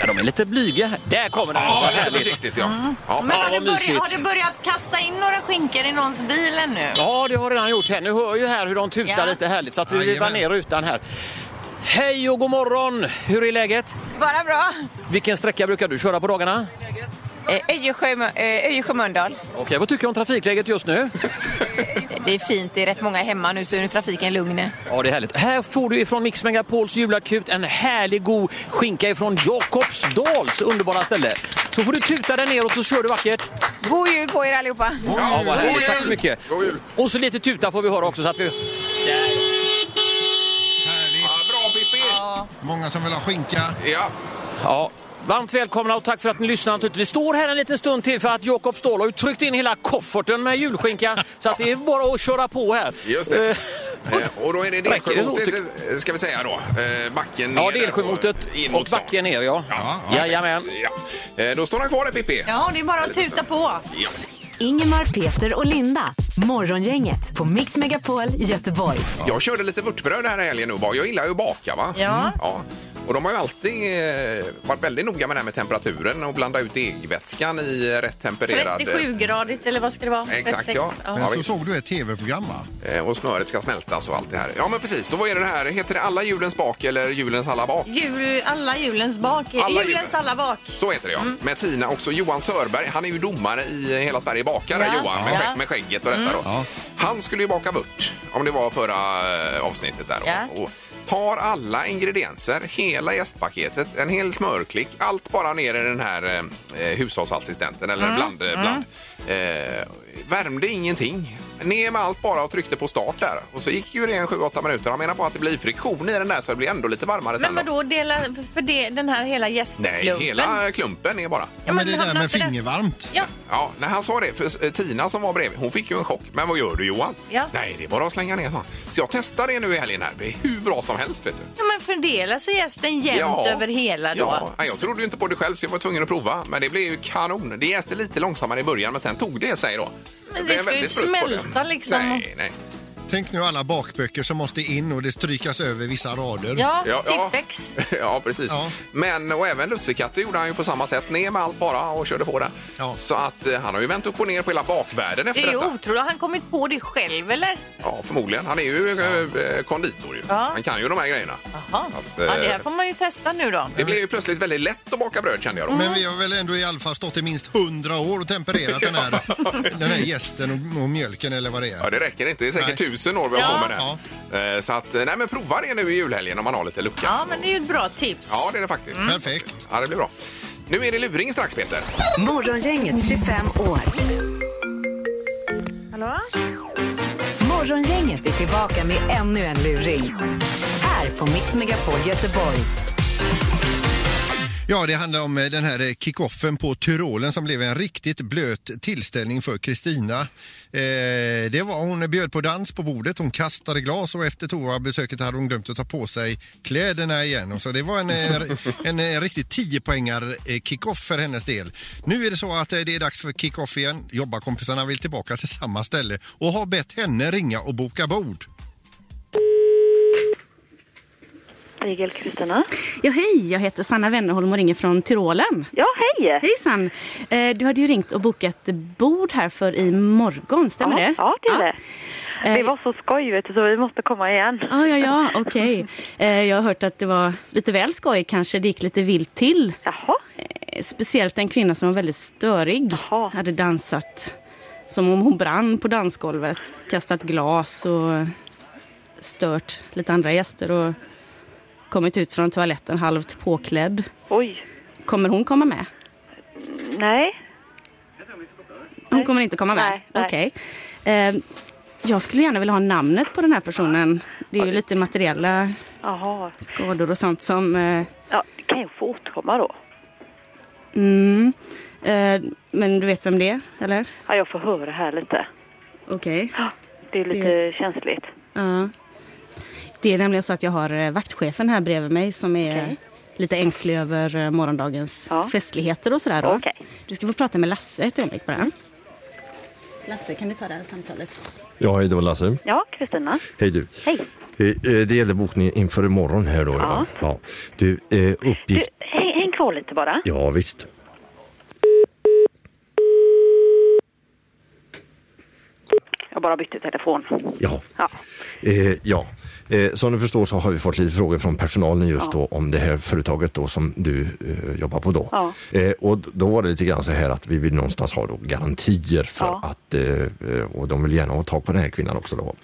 [SPEAKER 10] Ja, de är lite blyga här. Där kommer den.
[SPEAKER 2] Ja,
[SPEAKER 10] Vad
[SPEAKER 2] lite
[SPEAKER 10] härligt.
[SPEAKER 2] försiktigt ja. ja.
[SPEAKER 5] Men har,
[SPEAKER 10] vad
[SPEAKER 5] du börjat,
[SPEAKER 10] mysigt.
[SPEAKER 5] har du börjat kasta in några skinkor i någons bil ännu?
[SPEAKER 10] Ja, det har jag redan gjort här. Nu hör ju här hur de tutar
[SPEAKER 5] Ja.
[SPEAKER 10] lite härligt så att vi
[SPEAKER 3] Jajamän.
[SPEAKER 10] vivar ner rutan här. Hej och god morgon! Hur är läget?
[SPEAKER 5] Bara bra.
[SPEAKER 10] Vilken sträcka brukar du köra på dagarna?
[SPEAKER 5] Eh, Öjersjö Mölndal.
[SPEAKER 10] Okej, vad tycker du om trafikläget just nu?
[SPEAKER 5] Det är fint, det är rätt många hemma nu så är nu trafiken lugn.
[SPEAKER 10] Ja, det är härligt. Här får du ifrån Mix Megapols julakut en härlig god skinka ifrån Jakobsdals underbara ställe. Så får du tuta dig neråt och så kör du vackert.
[SPEAKER 5] God jul på er allihopa!
[SPEAKER 10] Ja, vad
[SPEAKER 2] God
[SPEAKER 10] härligt. Tack
[SPEAKER 2] jul!
[SPEAKER 10] så mycket.
[SPEAKER 2] God jul!
[SPEAKER 10] Och så lite tuta får vi höra också så att vi...
[SPEAKER 2] Ja,
[SPEAKER 3] Härligt.
[SPEAKER 2] Bra Pippi!
[SPEAKER 3] Många som vill ha skinka.
[SPEAKER 2] Ja.
[SPEAKER 10] Ja. Varmt välkomna och tack för att ni lyssnar. naturligtvis. Vi står här en liten stund till för att Jakob Ståhl har ju tryckt in hela kofferten med julskinka. Så att det är bara att köra på här.
[SPEAKER 2] Just det.
[SPEAKER 10] Eh,
[SPEAKER 2] Eh, Och då är det
[SPEAKER 10] Räcker det så,
[SPEAKER 2] Delsjömotet, eh, ska vi säga då. Eh, Backen ner.
[SPEAKER 10] Ja,
[SPEAKER 2] där
[SPEAKER 10] Delsjömotet
[SPEAKER 2] och in
[SPEAKER 10] och
[SPEAKER 2] mot stan.
[SPEAKER 10] backen ner ja.
[SPEAKER 3] ja.
[SPEAKER 10] Jajamän.
[SPEAKER 2] Ja. Eh, Då står han kvar där, Pippi.
[SPEAKER 5] Ja, det är bara att tuta på.
[SPEAKER 2] Ja.
[SPEAKER 1] Ingemar, Peter och Linda. Morgongänget på Mix Megapol Göteborg.
[SPEAKER 2] Jag körde lite vörtbröd här i helgen nu. bara. Jag gillar ju att baka. Va?
[SPEAKER 5] Ja.
[SPEAKER 2] Mm. ja. Och de har ju alltid eh, varit väldigt noga med det här med temperaturen och blanda ut degvätskan i eh, rätt tempererad...
[SPEAKER 5] 37-gradigt eller vad ska det vara?
[SPEAKER 2] Exakt,
[SPEAKER 5] 36.
[SPEAKER 2] ja.
[SPEAKER 3] Men så
[SPEAKER 2] visst.
[SPEAKER 3] såg du ett tv-program va?
[SPEAKER 2] eh, Och smöret ska smältas och allt det här. Ja, men precis. Då är det det här. Heter det alla julens bak eller julens alla bak?
[SPEAKER 5] Jul, alla julens bak.
[SPEAKER 2] Alla
[SPEAKER 5] julens
[SPEAKER 2] julen.
[SPEAKER 5] alla bak.
[SPEAKER 2] Så heter det
[SPEAKER 5] Mm.
[SPEAKER 2] ja. Med Tina också. Johan Sörberg, han är ju domare i eh, Hela Sverige bakar, där,
[SPEAKER 5] Ja.
[SPEAKER 2] Johan, med,
[SPEAKER 5] Ja. Mm.
[SPEAKER 2] skä- med skägget och detta då.
[SPEAKER 3] Ja.
[SPEAKER 2] Han skulle ju baka vört, om det var förra eh, avsnittet där. då.
[SPEAKER 5] Ja.
[SPEAKER 2] Och tar alla ingredienser, hela jästpaketet, en hel smörklick, allt bara ner i den här eh, hushållsassistenten
[SPEAKER 5] Mm.
[SPEAKER 2] eller bland. eh, bland. Eh, värmde ingenting. Ner med allt bara och tryckte på start där. Och så gick ju det en 7-8 minuter. Han menar på att det blir friktion i den där så det blir ändå lite varmare sen.
[SPEAKER 5] Men
[SPEAKER 2] då.
[SPEAKER 5] vadå, dela, för det, den här hela gästklumpen?
[SPEAKER 2] Nej, hela klumpen är bara.
[SPEAKER 3] Ja, men det
[SPEAKER 5] hamnar
[SPEAKER 3] där med
[SPEAKER 5] inte där-
[SPEAKER 3] fingervarmt.
[SPEAKER 5] Ja,
[SPEAKER 2] Ja, när han sa det, för eh, Tina som var bredvid, hon fick ju en chock. Men vad gör du Johan?
[SPEAKER 5] Ja.
[SPEAKER 2] Nej, det är bara att slänga ner, sa han. Så jag testar det nu i helgen här. Det är hur bra som helst, vet du.
[SPEAKER 5] ja, men fördelar sig gästen jämnt över hela då?
[SPEAKER 2] Ja, Nej, jag trodde ju inte på det själv så jag var tvungen att prova. Men det blev ju kanon. Det jäste lite långsammare i början men sen tog det sig då.
[SPEAKER 5] Men det
[SPEAKER 2] blev
[SPEAKER 5] ska ju
[SPEAKER 2] väldigt sprutt på det.
[SPEAKER 5] smälta liksom.
[SPEAKER 2] Nej, nej.
[SPEAKER 3] Tänk nu alla bakböcker som måste in och det strykas över vissa rader.
[SPEAKER 2] ja, ja. ja precis. Men och även lussekatter gjorde han ju på samma sätt. Ner med allt bara och körde på det. Så att eh, han har ju vänt upp och ner på hela bakvärlden
[SPEAKER 5] Det
[SPEAKER 2] efter
[SPEAKER 5] är ju
[SPEAKER 2] detta.
[SPEAKER 5] otroligt. Har han kommit på det själv eller?
[SPEAKER 2] Ja, förmodligen. Han är ju eh, konditor ju.
[SPEAKER 5] Ja.
[SPEAKER 2] Han kan ju de här grejerna.
[SPEAKER 5] Jaha.
[SPEAKER 2] eh,
[SPEAKER 5] Ja, det här får man ju testa nu då.
[SPEAKER 2] Det blev ju plötsligt väldigt lätt att baka bröd kände jag då.
[SPEAKER 3] Men vi har väl ändå i alla fall stått i minst hundra år och tempererat den här, den här jästen och, och mjölken eller vad det är.
[SPEAKER 2] Ja, det räcker inte. Det är säkert tusen år vi har på med det. här. Eh, Så att, eh, nej men prova det nu i julhelgen om man har lite lucka.
[SPEAKER 5] Ja, men Mm. det är ju ett bra tips.
[SPEAKER 2] Ja, det är det faktiskt.
[SPEAKER 3] Perfekt.
[SPEAKER 2] Ja, det blir bra. Nu är det luring strax, Peter.
[SPEAKER 1] Morgongänget 25 år.
[SPEAKER 4] Hallå?
[SPEAKER 1] Morgongänget är tillbaka med ännu en luring. Här på Mix Megapol Göteborg.
[SPEAKER 3] Ja, det handlar om eh, den här eh, kickoffen på Tyrolen som blev en riktigt blöt tillställning för Kristina. Eh, det var hon bjöd på dans på bordet, hon kastade glas och efter toabesöket hade hon glömt att ta på sig kläderna igen. Och så det var en, eh, en, en riktigt 10 poängar kickoff för hennes del. Nu är det så att eh, det är dags för kickoff igen. Jobbarkompisarna vill tillbaka till samma ställe och har bett henne ringa och boka bord.
[SPEAKER 11] Rigel Kristina. Ja, hej! Jag heter Sanna Wennerholm och ringer från Tyrolen. Ja, hej! Hejsan! Eh, Du hade ju ringt och bokat bord här för i morgon, stämmer
[SPEAKER 6] Ja,
[SPEAKER 11] det?
[SPEAKER 6] ja, det är
[SPEAKER 11] det. Det var så skoj, vet du, så vi måste komma igen. Ja, ja, ja, okej. Eh, Jag har hört att det var lite väl skoj kanske, det gick lite vilt till. Jaha? Speciellt en kvinna som var väldigt störig, hade dansat som om hon brann på dansgolvet, kastat glas och stört lite andra gäster och kommit ut från toaletten halvt påklädd. Oj. Kommer hon komma med?
[SPEAKER 6] Nej.
[SPEAKER 11] Hon kommer inte komma med?
[SPEAKER 6] Nej, nej.
[SPEAKER 11] Okej. Eh, jag skulle gärna vilja ha namnet på den här personen. Det är ju lite materiella
[SPEAKER 6] Jaha.
[SPEAKER 11] skador och sånt som... Eh,
[SPEAKER 6] Ja, kan jag få återkomma då?
[SPEAKER 11] mm, eh, men du vet vem det är, eller?
[SPEAKER 6] Ja, jag får höra här lite.
[SPEAKER 11] Okej.
[SPEAKER 6] Det är lite
[SPEAKER 5] Mm.
[SPEAKER 11] Det-
[SPEAKER 6] känsligt.
[SPEAKER 11] Ja. Det är nämligen så att jag har eh, vaktchefen här bredvid mig som är
[SPEAKER 6] Okej.
[SPEAKER 11] lite ängslig över eh, morgondagens festligheter och sådär. Då. Du ska få prata med Lasse ett ögonblick bara. Lasse, kan du ta det här samtalet?
[SPEAKER 12] Ja, hej, det var Lasse.
[SPEAKER 11] Ja, Kristina.
[SPEAKER 12] Hej du.
[SPEAKER 11] Hej.
[SPEAKER 12] Eh, eh, Det gäller bokningen inför imorgon här då. Ja. ja. Du, eh,
[SPEAKER 6] Du,
[SPEAKER 12] uppgift...
[SPEAKER 6] häng, häng kvar lite bara.
[SPEAKER 12] Ja, visst.
[SPEAKER 6] Jag bara bytte telefon.
[SPEAKER 12] Ja. Eh, ja. Eh, som du förstår så har vi fått lite frågor från personalen just
[SPEAKER 6] Ja.
[SPEAKER 12] då om det här företaget då som du eh, jobbar på då.
[SPEAKER 6] Ja.
[SPEAKER 12] Eh, och då var det lite grann så här att vi vill någonstans ha då garantier för att, eh, eh, och de vill gärna ha tag på den här kvinnan också då.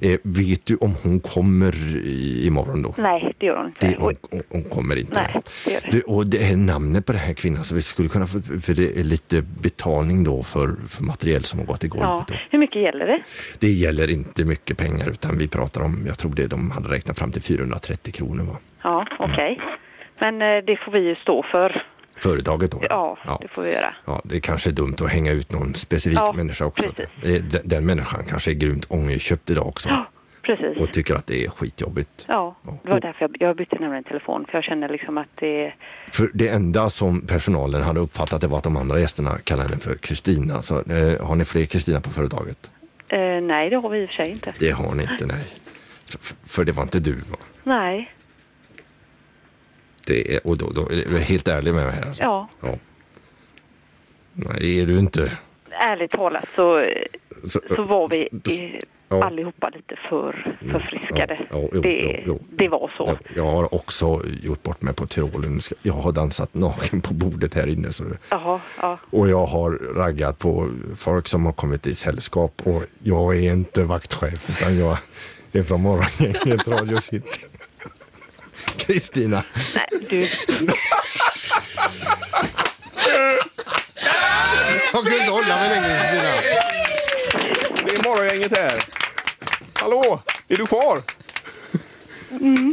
[SPEAKER 12] Eh, vet du om hon kommer i, imorgon då?
[SPEAKER 6] Nej, det gör hon inte.
[SPEAKER 12] Det, hon, hon- hon kommer inte.
[SPEAKER 6] Nej, det gör det.
[SPEAKER 12] Du, och det är namnet på den här kvinnan, så vi skulle kunna få, för det är lite betalning då för, för material som har gått i
[SPEAKER 6] Ja.
[SPEAKER 12] golvet. då.
[SPEAKER 6] Hur mycket gäller det?
[SPEAKER 12] Det gäller inte mycket pengar utan vi pratar om, jag tror det de hade räknat fram till 430 kronor va?
[SPEAKER 6] Ja,
[SPEAKER 12] Mm.
[SPEAKER 6] okej. Men eh, det får vi ju stå för.
[SPEAKER 12] Företaget då?
[SPEAKER 6] Ja, det får vi göra.
[SPEAKER 12] Ja, det kanske är dumt att hänga ut någon specifik
[SPEAKER 6] Ja,
[SPEAKER 12] människa också.
[SPEAKER 6] precis.
[SPEAKER 12] Eh, Den, den människan kanske är grymt ångerköpt idag också
[SPEAKER 6] Ja, precis.
[SPEAKER 12] och tycker att det är skitjobbigt.
[SPEAKER 6] Ja, det var därför jag, jag bytte nämligen telefon. För jag kände liksom att det...
[SPEAKER 12] För det enda som personalen hade uppfattat det var att de andra gästerna kallade henne för Kristina. Så eh, har ni fler Kristina på företaget?
[SPEAKER 6] Eh, nej, det har vi i och för sig inte.
[SPEAKER 12] Det har ni inte, nej. För, för det var inte du va?
[SPEAKER 6] Nej,
[SPEAKER 12] Det är, och då, då är du helt ärlig med mig här. alltså.
[SPEAKER 6] ja.
[SPEAKER 12] ja. Nej, det är du inte.
[SPEAKER 6] Ärligt talat så, eh,
[SPEAKER 12] Så-
[SPEAKER 6] så var vi i,
[SPEAKER 12] Ja. Mm.
[SPEAKER 6] allihopa lite för förfriskade.
[SPEAKER 12] Ja, jo,
[SPEAKER 6] det,
[SPEAKER 12] jo,
[SPEAKER 6] det var så.
[SPEAKER 12] Jag har också gjort bort mig på Tyrolen. Nu ska- Jag har dansat naken på bordet här inne. Så det,
[SPEAKER 6] Jaha, ja.
[SPEAKER 12] och jag har raggat på folk som har kommit i sällskap. Och jag är inte vaktchef utan jag är från morgongänget Radio City. Kristina.
[SPEAKER 6] Nej, du...
[SPEAKER 12] Jag kunde inte hålla mig längre Kristina.
[SPEAKER 2] Det är morgongänget här. Hallå, är du kvar?
[SPEAKER 6] Mm,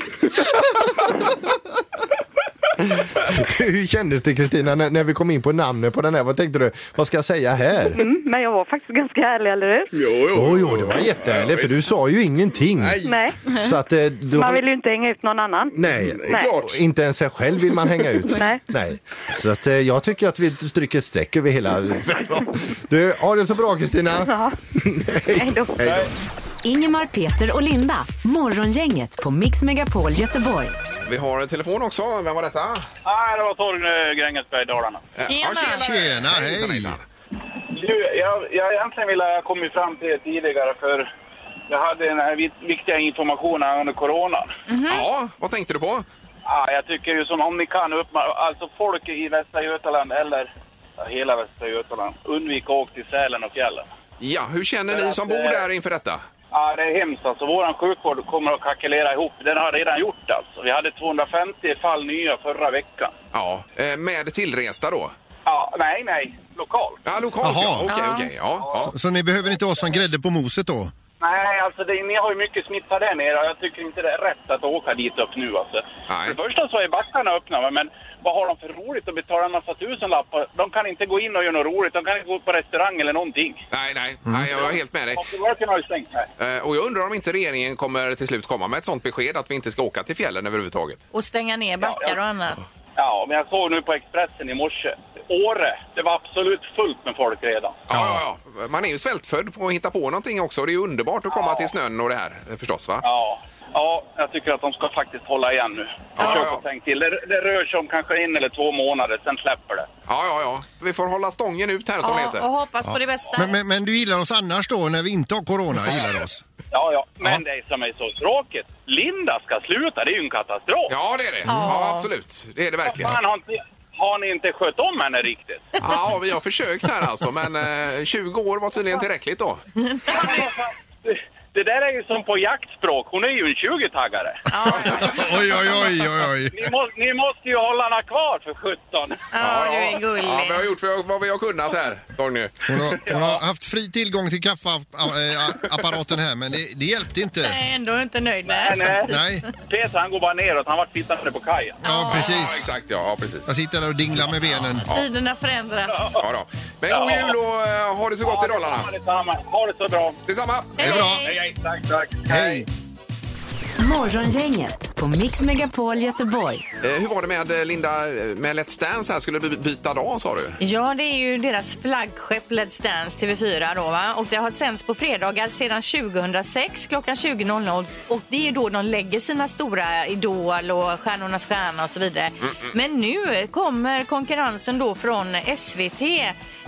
[SPEAKER 12] Du, Hur kändes det Kristina när, när vi kom in på namnet på den här? Vad tänkte du? Vad ska jag säga här?
[SPEAKER 6] Mm, men jag var faktiskt ganska ärlig, eller hur?
[SPEAKER 12] Jo, jo, det var jättehärligt för du sa ju ingenting.
[SPEAKER 6] Nej.
[SPEAKER 12] Så att, eh, du
[SPEAKER 6] Man
[SPEAKER 12] har-
[SPEAKER 6] vill ju inte hänga ut någon annan.
[SPEAKER 12] Nej,
[SPEAKER 6] Mm, Nej.
[SPEAKER 12] och inte ens sig själv vill man hänga ut.
[SPEAKER 6] Nej.
[SPEAKER 12] Så att, eh, jag tycker att vi stryker ett streck över hela... Du, ha det så bra Kristina!
[SPEAKER 6] Ja.
[SPEAKER 12] Hej då.
[SPEAKER 1] Ingemar, Peter och Linda. Morgongänget på Mix Megapol Göteborg.
[SPEAKER 2] Vi har en telefon också. Vem var detta?
[SPEAKER 13] Nej, det var Torgny Grängesberg, Dalarna.
[SPEAKER 2] Tjena! tjena.
[SPEAKER 3] Tjena, hej!
[SPEAKER 13] Du, jag, jag egentligen ville komma fram till det tidigare för jag hade den här vit- viktiga informationen angående corona.
[SPEAKER 2] Mm. Ja, vad tänkte du på?
[SPEAKER 13] Ja, jag tycker ju som om ni kan uppma- alltså folk i Västra Götaland eller ja, hela Västra Götaland, undvik att åka till Sälen och fjällen.
[SPEAKER 2] Ja, hur känner
[SPEAKER 13] För
[SPEAKER 2] ni
[SPEAKER 13] att,
[SPEAKER 2] som bor
[SPEAKER 13] eh,
[SPEAKER 2] där inför detta?
[SPEAKER 13] Ja, det är hemskt alltså. Våran sjukvård kommer att kalkylera ihop. Den har redan gjort det alltså. Vi hade 250 fall nya förra veckan.
[SPEAKER 2] Ja, eh, med tillresta då?
[SPEAKER 13] Ja, nej, nej. Lokalt.
[SPEAKER 2] Ja, lokalt
[SPEAKER 3] Jaha.
[SPEAKER 2] ja. Okej,
[SPEAKER 13] Ja.
[SPEAKER 2] okej. Ja, ja.
[SPEAKER 3] Så, så ni behöver inte oss som grädde på moset då?
[SPEAKER 13] Nej, alltså det, ni har ju mycket smitta där nere och jag tycker inte det är rätt att åka dit upp nu alltså. För det första så är backarna öppna va, men vad har de för roligt att betala en massa tusenlappar? De kan inte gå in och göra något roligt, de kan inte gå på restaurang eller någonting.
[SPEAKER 2] Nej, nej, nej, jag är helt med dig.
[SPEAKER 13] Afterworken har ju stängt här.
[SPEAKER 2] Eh, Och jag undrar om inte regeringen kommer till slut komma med ett sånt besked att vi inte ska åka till fjällen överhuvudtaget.
[SPEAKER 5] Och stänga ner backar och annat.
[SPEAKER 13] Ja, men jag såg nu på Expressen i morse. Åre, det var absolut fullt med folk redan.
[SPEAKER 2] Ja, ja, ja. Man är ju svältfödd på att hitta på någonting också. Det är ju underbart att komma till snön och det här eh, förstås va?
[SPEAKER 13] Ja, ja jag tycker att de ska faktiskt hålla igen nu. Ja, ja. Tänk till. Det, det rör sig om kanske en eller två månader, sen släpper det.
[SPEAKER 2] Ja, ja, ja. Vi får hålla stången ut här som det heter.
[SPEAKER 3] Men, men, men du gillar oss annars då när vi inte har corona? Gillar oss?
[SPEAKER 13] Ja, ja. Men det som är så tråkigt, Linda ska sluta. Det är ju en katastrof.
[SPEAKER 2] Ja, det är det. Ja, absolut. Det är det verkligen.
[SPEAKER 13] Fan, har, inte, har ni inte skött om henne riktigt?
[SPEAKER 2] Ja, vi har försökt här alltså, men eh, 20 år var tydligen tillräckligt då.
[SPEAKER 13] Det där är ju som på jaktspråk. Hon är ju en 20-taggare.
[SPEAKER 3] Oj, oj, oj, oj, oj.
[SPEAKER 13] Ni, må, ni måste ju hålla henne kvar för 17.
[SPEAKER 2] Ja, du är gullig. Ja, vi har gjort vad- vad vi har kunnat här, Torgny.
[SPEAKER 3] Hon har, hon har haft fri tillgång till kaffeapparaten här men det, det hjälpte inte.
[SPEAKER 5] Nej, ändå inte nöjd. Nej,
[SPEAKER 13] nej.
[SPEAKER 3] Nej.
[SPEAKER 13] Peter han går bara neråt. Han vart sittande på kajen.
[SPEAKER 3] Ja, precis.
[SPEAKER 2] Exakt, ja, ja, precis.
[SPEAKER 3] Jag sitter där och dinglar med benen.
[SPEAKER 5] Tiderna förändras.
[SPEAKER 2] Ja, då. Men god jul och eh, ha det så gott i Dalarna.
[SPEAKER 13] Ha det så bra.
[SPEAKER 2] Detsamma.
[SPEAKER 5] Hej då.
[SPEAKER 2] Hej,
[SPEAKER 13] hej. Tack, tack.
[SPEAKER 3] Hej.
[SPEAKER 1] Morgongänget på Mix Megapol Göteborg.
[SPEAKER 2] Eh, Hur var det med eh, Linda, eh, med Let's Dance här? Skulle du by- byta dag sa du?
[SPEAKER 5] Ja, det är ju deras flaggskepp Let's Dance TV4 då va? Och det har sänts på fredagar sedan 2006 klockan 20.00 och det är ju då de lägger sina stora Idol och Stjärnornas stjärna och så vidare. Men nu kommer konkurrensen då från SVT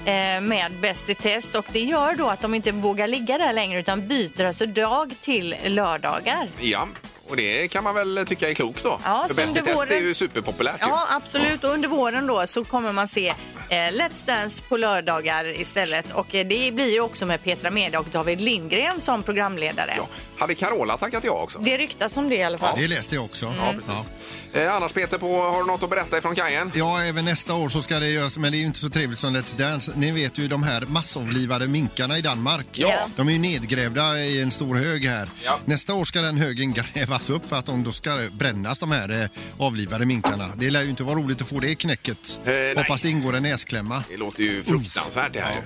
[SPEAKER 5] eh, med Bäst i test och det gör då att de inte vågar ligga där längre utan byter alltså dag till lördagar.
[SPEAKER 2] Ja, och det kan man väl tycka är klokt då.
[SPEAKER 5] Ja,
[SPEAKER 2] För
[SPEAKER 5] som
[SPEAKER 2] Bäst i
[SPEAKER 5] det
[SPEAKER 2] test
[SPEAKER 5] vore.
[SPEAKER 2] är ju superpopulärt. ju.
[SPEAKER 5] Ja, absolut. Och under våren då så kommer man se eh, Let's Dance på lördagar istället. Och eh, det blir ju också med Petra Mede och David Lindgren som programledare.
[SPEAKER 2] Hade Carola tackat jag också?
[SPEAKER 5] Det ryktas om det i alla fall.
[SPEAKER 3] Det läste jag också.
[SPEAKER 2] Ja, precis. Eh, annars Peter, på, har du något att berätta ifrån kajen?
[SPEAKER 3] Ja, även nästa år så ska det göras, men det är ju inte så trevligt som Let's Dance. Ni vet ju de här massavlivade minkarna i Danmark.
[SPEAKER 2] Ja.
[SPEAKER 3] De är ju nedgrävda i en stor hög här.
[SPEAKER 2] Ja.
[SPEAKER 3] Nästa år ska den högen grävas upp för att de då ska brännas, de här eh, avlivade minkarna. Det lär ju inte vara roligt att få det knäcket.
[SPEAKER 2] Eh, nej.
[SPEAKER 3] Hoppas det ingår en näsklämma.
[SPEAKER 2] Det låter ju fruktansvärt det här. ju.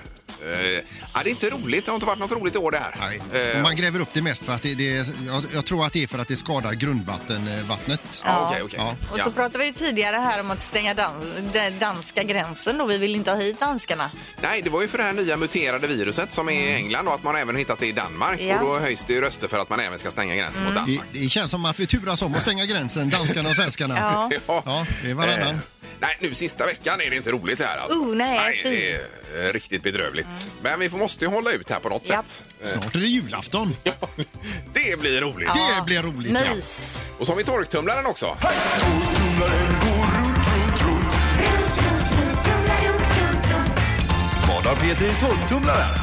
[SPEAKER 2] Eh, ja, det är inte roligt. Det har inte varit något roligt i år det här.
[SPEAKER 3] Och
[SPEAKER 2] Eh,
[SPEAKER 3] Man gräver upp det mest för att det, det jag, jag tror att det är för att det skadar grundvattenvattnet.
[SPEAKER 2] Ja, okej, okej.
[SPEAKER 5] Och så pratade vi ju tidigare här om att stänga dan- den danska gränsen och vi vill inte ha hit danskarna.
[SPEAKER 2] Nej, det var ju för det här nya muterade viruset som är i England och att man även har hittat det i Danmark.
[SPEAKER 5] Ja.
[SPEAKER 2] Och då höjs det ju röster för att man även ska stänga gränsen mot Danmark.
[SPEAKER 3] Det, det känns som att vi turas om att stänga gränsen, danskarna och svenskarna.
[SPEAKER 5] Ja.
[SPEAKER 3] ja det är varannan.
[SPEAKER 2] Eh, nej, nu sista veckan är det inte roligt det här alltså.
[SPEAKER 5] Oh, nej, fy.
[SPEAKER 2] det är eh, riktigt bedrövligt. Men vi får, måste ju hålla ut här på något
[SPEAKER 5] Japp.
[SPEAKER 2] sätt. Eh,
[SPEAKER 3] Snart är det julafton.
[SPEAKER 2] det blir roligt.
[SPEAKER 3] Det blir roligt. ja.
[SPEAKER 5] Mys.
[SPEAKER 2] Och så har vi torktumlaren också.
[SPEAKER 14] Vad har Peter i torktumlaren?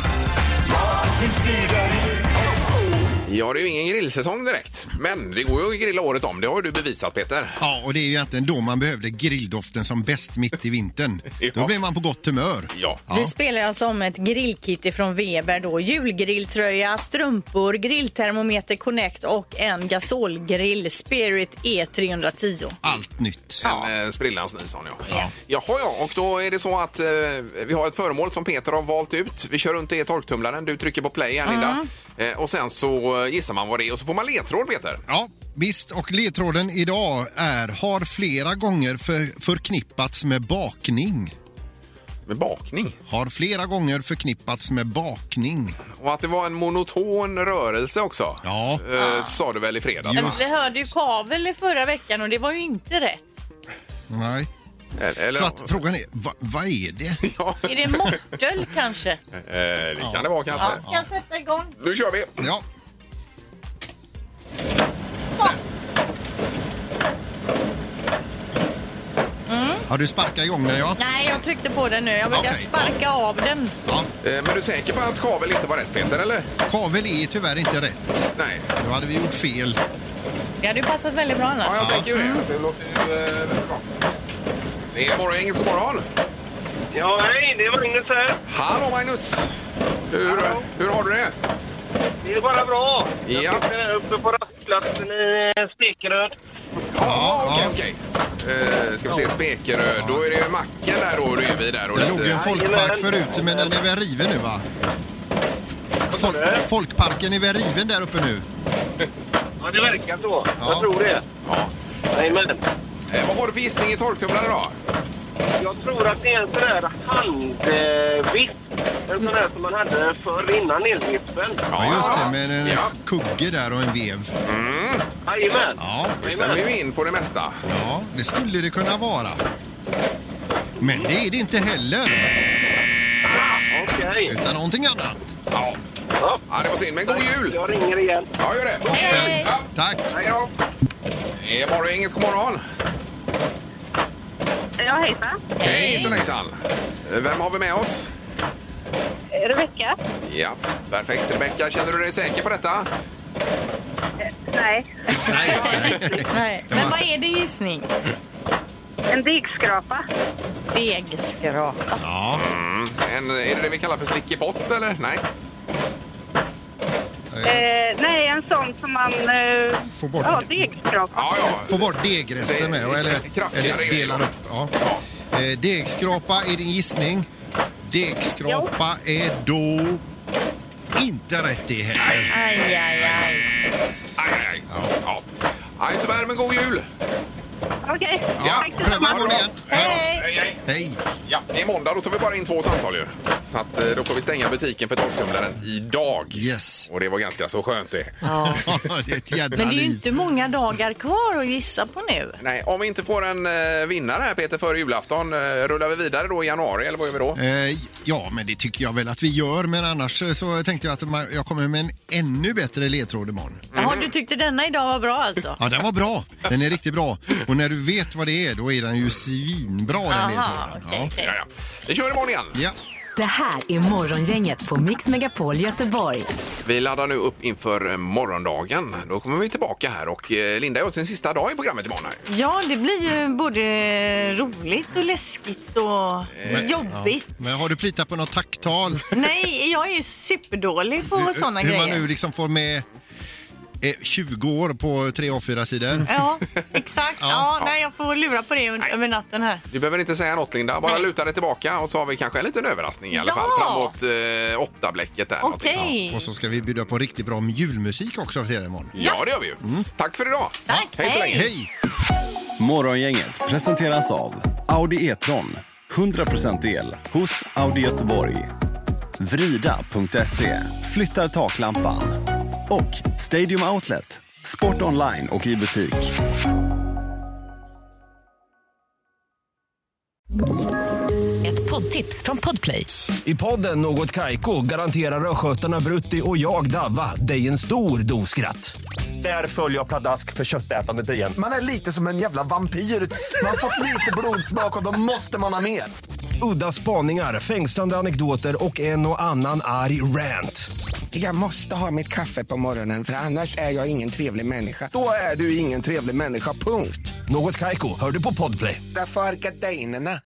[SPEAKER 2] Ja, det är ju ingen grillsäsong direkt. Men det går ju att grilla året om. Det har ju du bevisat Peter.
[SPEAKER 3] Ja, och det är ju egentligen då man behövde grilldoften som bäst mitt i vintern. Då blir man på gott humör.
[SPEAKER 2] Ja.
[SPEAKER 5] Vi spelar alltså om ett grillkit ifrån Weber då. Julgrilltröja, strumpor, grilltermometer Connect och en gasolgrill Spirit E E310.
[SPEAKER 3] Allt nytt.
[SPEAKER 2] En eh, sprillans ny sån, ja. ja. Jaha, ja. Och då är det så att eh, vi har ett föremål som Peter har valt ut. Vi kör runt det i torktumlaren. Du trycker på play här, Linda. Eh, och sen så eh, gissar man vad det är och så får man ledtråd, Peter.
[SPEAKER 3] Ja, visst. Och ledtråden idag är har flera gånger för, förknippats med bakning.
[SPEAKER 2] Med bakning?
[SPEAKER 3] Har flera gånger förknippats med bakning.
[SPEAKER 2] Och att det var en monoton rörelse också.
[SPEAKER 3] Ja.
[SPEAKER 2] Eh, sa du väl i fredags?
[SPEAKER 15] Men Vi hörde ju kavel i förra veckan och det var ju inte rätt.
[SPEAKER 3] Nej.
[SPEAKER 2] Eller,
[SPEAKER 3] Så att frågan är, va, vad är det?
[SPEAKER 15] Är det mortel kanske?
[SPEAKER 2] Eh, det kan det vara kanske.
[SPEAKER 15] Ja, ska jag sätta igång?
[SPEAKER 2] Nu kör vi!
[SPEAKER 3] Ja. Har du sparkat igång den ja?
[SPEAKER 5] Nej, jag tryckte på den nu. Jag brukar sparka av den.
[SPEAKER 2] Eh, Men du är säker på att kavel inte var rätt Peter, eller?
[SPEAKER 3] Kavel är tyvärr inte rätt.
[SPEAKER 2] Nej.
[SPEAKER 3] Då hade vi gjort fel.
[SPEAKER 15] Det hade ju passat väldigt bra annars.
[SPEAKER 2] Ja, jag tänker ju
[SPEAKER 6] Mm.
[SPEAKER 2] det. Det låter ju eh, väldigt bra. Det är Morgongänget, god morgon!
[SPEAKER 8] Ja, hej! Det är Magnus här.
[SPEAKER 2] Hallå Magnus! Hur, hur har du det?
[SPEAKER 8] Det är bara bra. Jag
[SPEAKER 2] Ja.
[SPEAKER 8] sitter här uppe på rastplatsen i eh, Spekeröd.
[SPEAKER 2] Ja, okej, okej. Eh, ska vi se, Spekeröd. Då är det ju Macken där då, du är vi där. Och
[SPEAKER 3] Det
[SPEAKER 2] lite-
[SPEAKER 3] låg ju en folkpark förut, men den är väl riven nu va? Folk, folkparken är väl riven där uppe nu?
[SPEAKER 8] Ja, det verkar så. Jag tror det.
[SPEAKER 2] Ja.
[SPEAKER 8] Jajamän.
[SPEAKER 2] Eh, vad har du för gissning i torktumlaren då?
[SPEAKER 8] Jag tror att det är en sån här handvisp. En sån här som man hade förr innan elvispen.
[SPEAKER 3] Ja, just det, med en kugge där och en vev.
[SPEAKER 8] Jajamän.
[SPEAKER 3] Ja,
[SPEAKER 2] Mm. Det stämmer ju in på det mesta.
[SPEAKER 3] Ja, det skulle det kunna vara. Men det är det inte heller.
[SPEAKER 8] Okej.
[SPEAKER 3] Utan någonting annat.
[SPEAKER 2] Ja. ja, det var synd. Men god jul!
[SPEAKER 8] Jag ringer igen.
[SPEAKER 2] Ja, gör det.
[SPEAKER 3] Hej!
[SPEAKER 2] Ja.
[SPEAKER 3] Tack!
[SPEAKER 2] Hej då! Det är Morgongänget, god morgon!
[SPEAKER 6] Ja, hejsan.
[SPEAKER 2] Hej hejsan, hejsan! Eh, Vem har vi med oss?
[SPEAKER 6] Rebecka?
[SPEAKER 2] Ja, perfekt. Rebecka, känner du dig säker på detta?
[SPEAKER 6] Nej.
[SPEAKER 5] Nej. Men vad är det gissning?
[SPEAKER 6] En degskrapa.
[SPEAKER 5] Degskrapa.
[SPEAKER 3] Ja.
[SPEAKER 2] Mm. En, är det det vi kallar för slickepott, eller? Nej?
[SPEAKER 6] Eh, nej, en sån som man... Eh,
[SPEAKER 3] Får bort.
[SPEAKER 6] Ja, degskrapa.
[SPEAKER 2] Ja,
[SPEAKER 3] Få bort degresten med, eller, eller delar upp. Ja. Eh, Degskrapa är din gissning. Degskrapa är då inte rätt det heller.
[SPEAKER 5] Aj, aj, aj.
[SPEAKER 2] Aj, aj, aj. Ja. Nej, tyvärr, men god jul!
[SPEAKER 6] Okej.
[SPEAKER 2] Ja,
[SPEAKER 3] pröva imorgon igen.
[SPEAKER 2] Hej! Hej,
[SPEAKER 3] hej!
[SPEAKER 2] Ja, det är måndag, då tar vi bara in två samtal ju. Så att eh, då får vi stänga butiken för torktumlaren idag.
[SPEAKER 3] Yes.
[SPEAKER 2] Och det var ganska så skönt det.
[SPEAKER 5] Ja.
[SPEAKER 3] det är ett jädra
[SPEAKER 5] Men det är ju inte många dagar kvar att gissa på nu.
[SPEAKER 2] Nej, om vi inte får en eh, vinnare här Peter före julafton, eh, rullar vi vidare då i januari eller vad gör vi då?
[SPEAKER 3] Eh, ja, men det tycker jag väl att vi gör. Men annars eh, så tänkte jag att man, jag kommer med en ännu bättre ledtråd imorgon.
[SPEAKER 5] Jaha, du tyckte denna idag var bra alltså?
[SPEAKER 3] Mm. Ja, den var bra. Den är riktigt bra. Och när du vet vad det är, då är den ju svinbra den
[SPEAKER 5] Aha,
[SPEAKER 3] ledtråden.
[SPEAKER 5] okej, okej.
[SPEAKER 2] Ja, ja. Vi kör imorgon igen.
[SPEAKER 3] Ja.
[SPEAKER 1] Det här är Morgongänget på Mix Megapol Göteborg.
[SPEAKER 2] Vi laddar nu upp inför eh, morgondagen. Då kommer vi tillbaka här och eh, Linda gör sin sista dag i programmet imorgon. Här.
[SPEAKER 5] Ja, det blir ju både roligt och läskigt och jobbigt.
[SPEAKER 3] Eh, Ja. Men har du plitat på något tacktal?
[SPEAKER 5] Nej, jag är ju superdålig på
[SPEAKER 3] Hur-
[SPEAKER 5] sådana
[SPEAKER 3] Hur
[SPEAKER 5] grejer.
[SPEAKER 3] man nu liksom får med eh, 20 år på 3 A4-sidor.
[SPEAKER 5] Ja, Mm. Eh, exakt. Ja, Nej, jag får lura på det under- över natten här.
[SPEAKER 2] Du behöver inte säga något Linda, bara luta dig tillbaka och så har vi kanske en liten överraskning i alla
[SPEAKER 5] Ja!
[SPEAKER 2] fall framåt eh, åtta bläcket där. någonting sånt.
[SPEAKER 3] Och så ska vi bjuda på riktigt bra julmusik också till er imorgon.
[SPEAKER 2] Ja, det gör vi ju. Tack för idag. Tack. Hej så länge.
[SPEAKER 3] Hej!
[SPEAKER 14] Morgongänget presenteras av Audi E-tron. 100% el hos Audi Göteborg. Vrida.se. Flyttar taklampan. Och Stadium Outlet. Sport online och i butik.
[SPEAKER 16] Ett poddtips från Podplay.
[SPEAKER 17] I podden Något Kaiko garanterar östgötarna Brutti och jag, Davva, dig en stor dos skratt. Där följer jag pladask för köttätandet igen.
[SPEAKER 18] Man är lite som en jävla vampyr. Man har fått lite blodsmak och då måste man ha mer.
[SPEAKER 17] Udda spaningar, fängslande anekdoter och en och annan arg rant.
[SPEAKER 18] Jag måste ha mitt kaffe på morgonen för annars är jag ingen trevlig människa. Då är du ingen trevlig människa, punkt.
[SPEAKER 17] Något Kaiko, hör du på Podplay.
[SPEAKER 18] Därför arkadeinerna.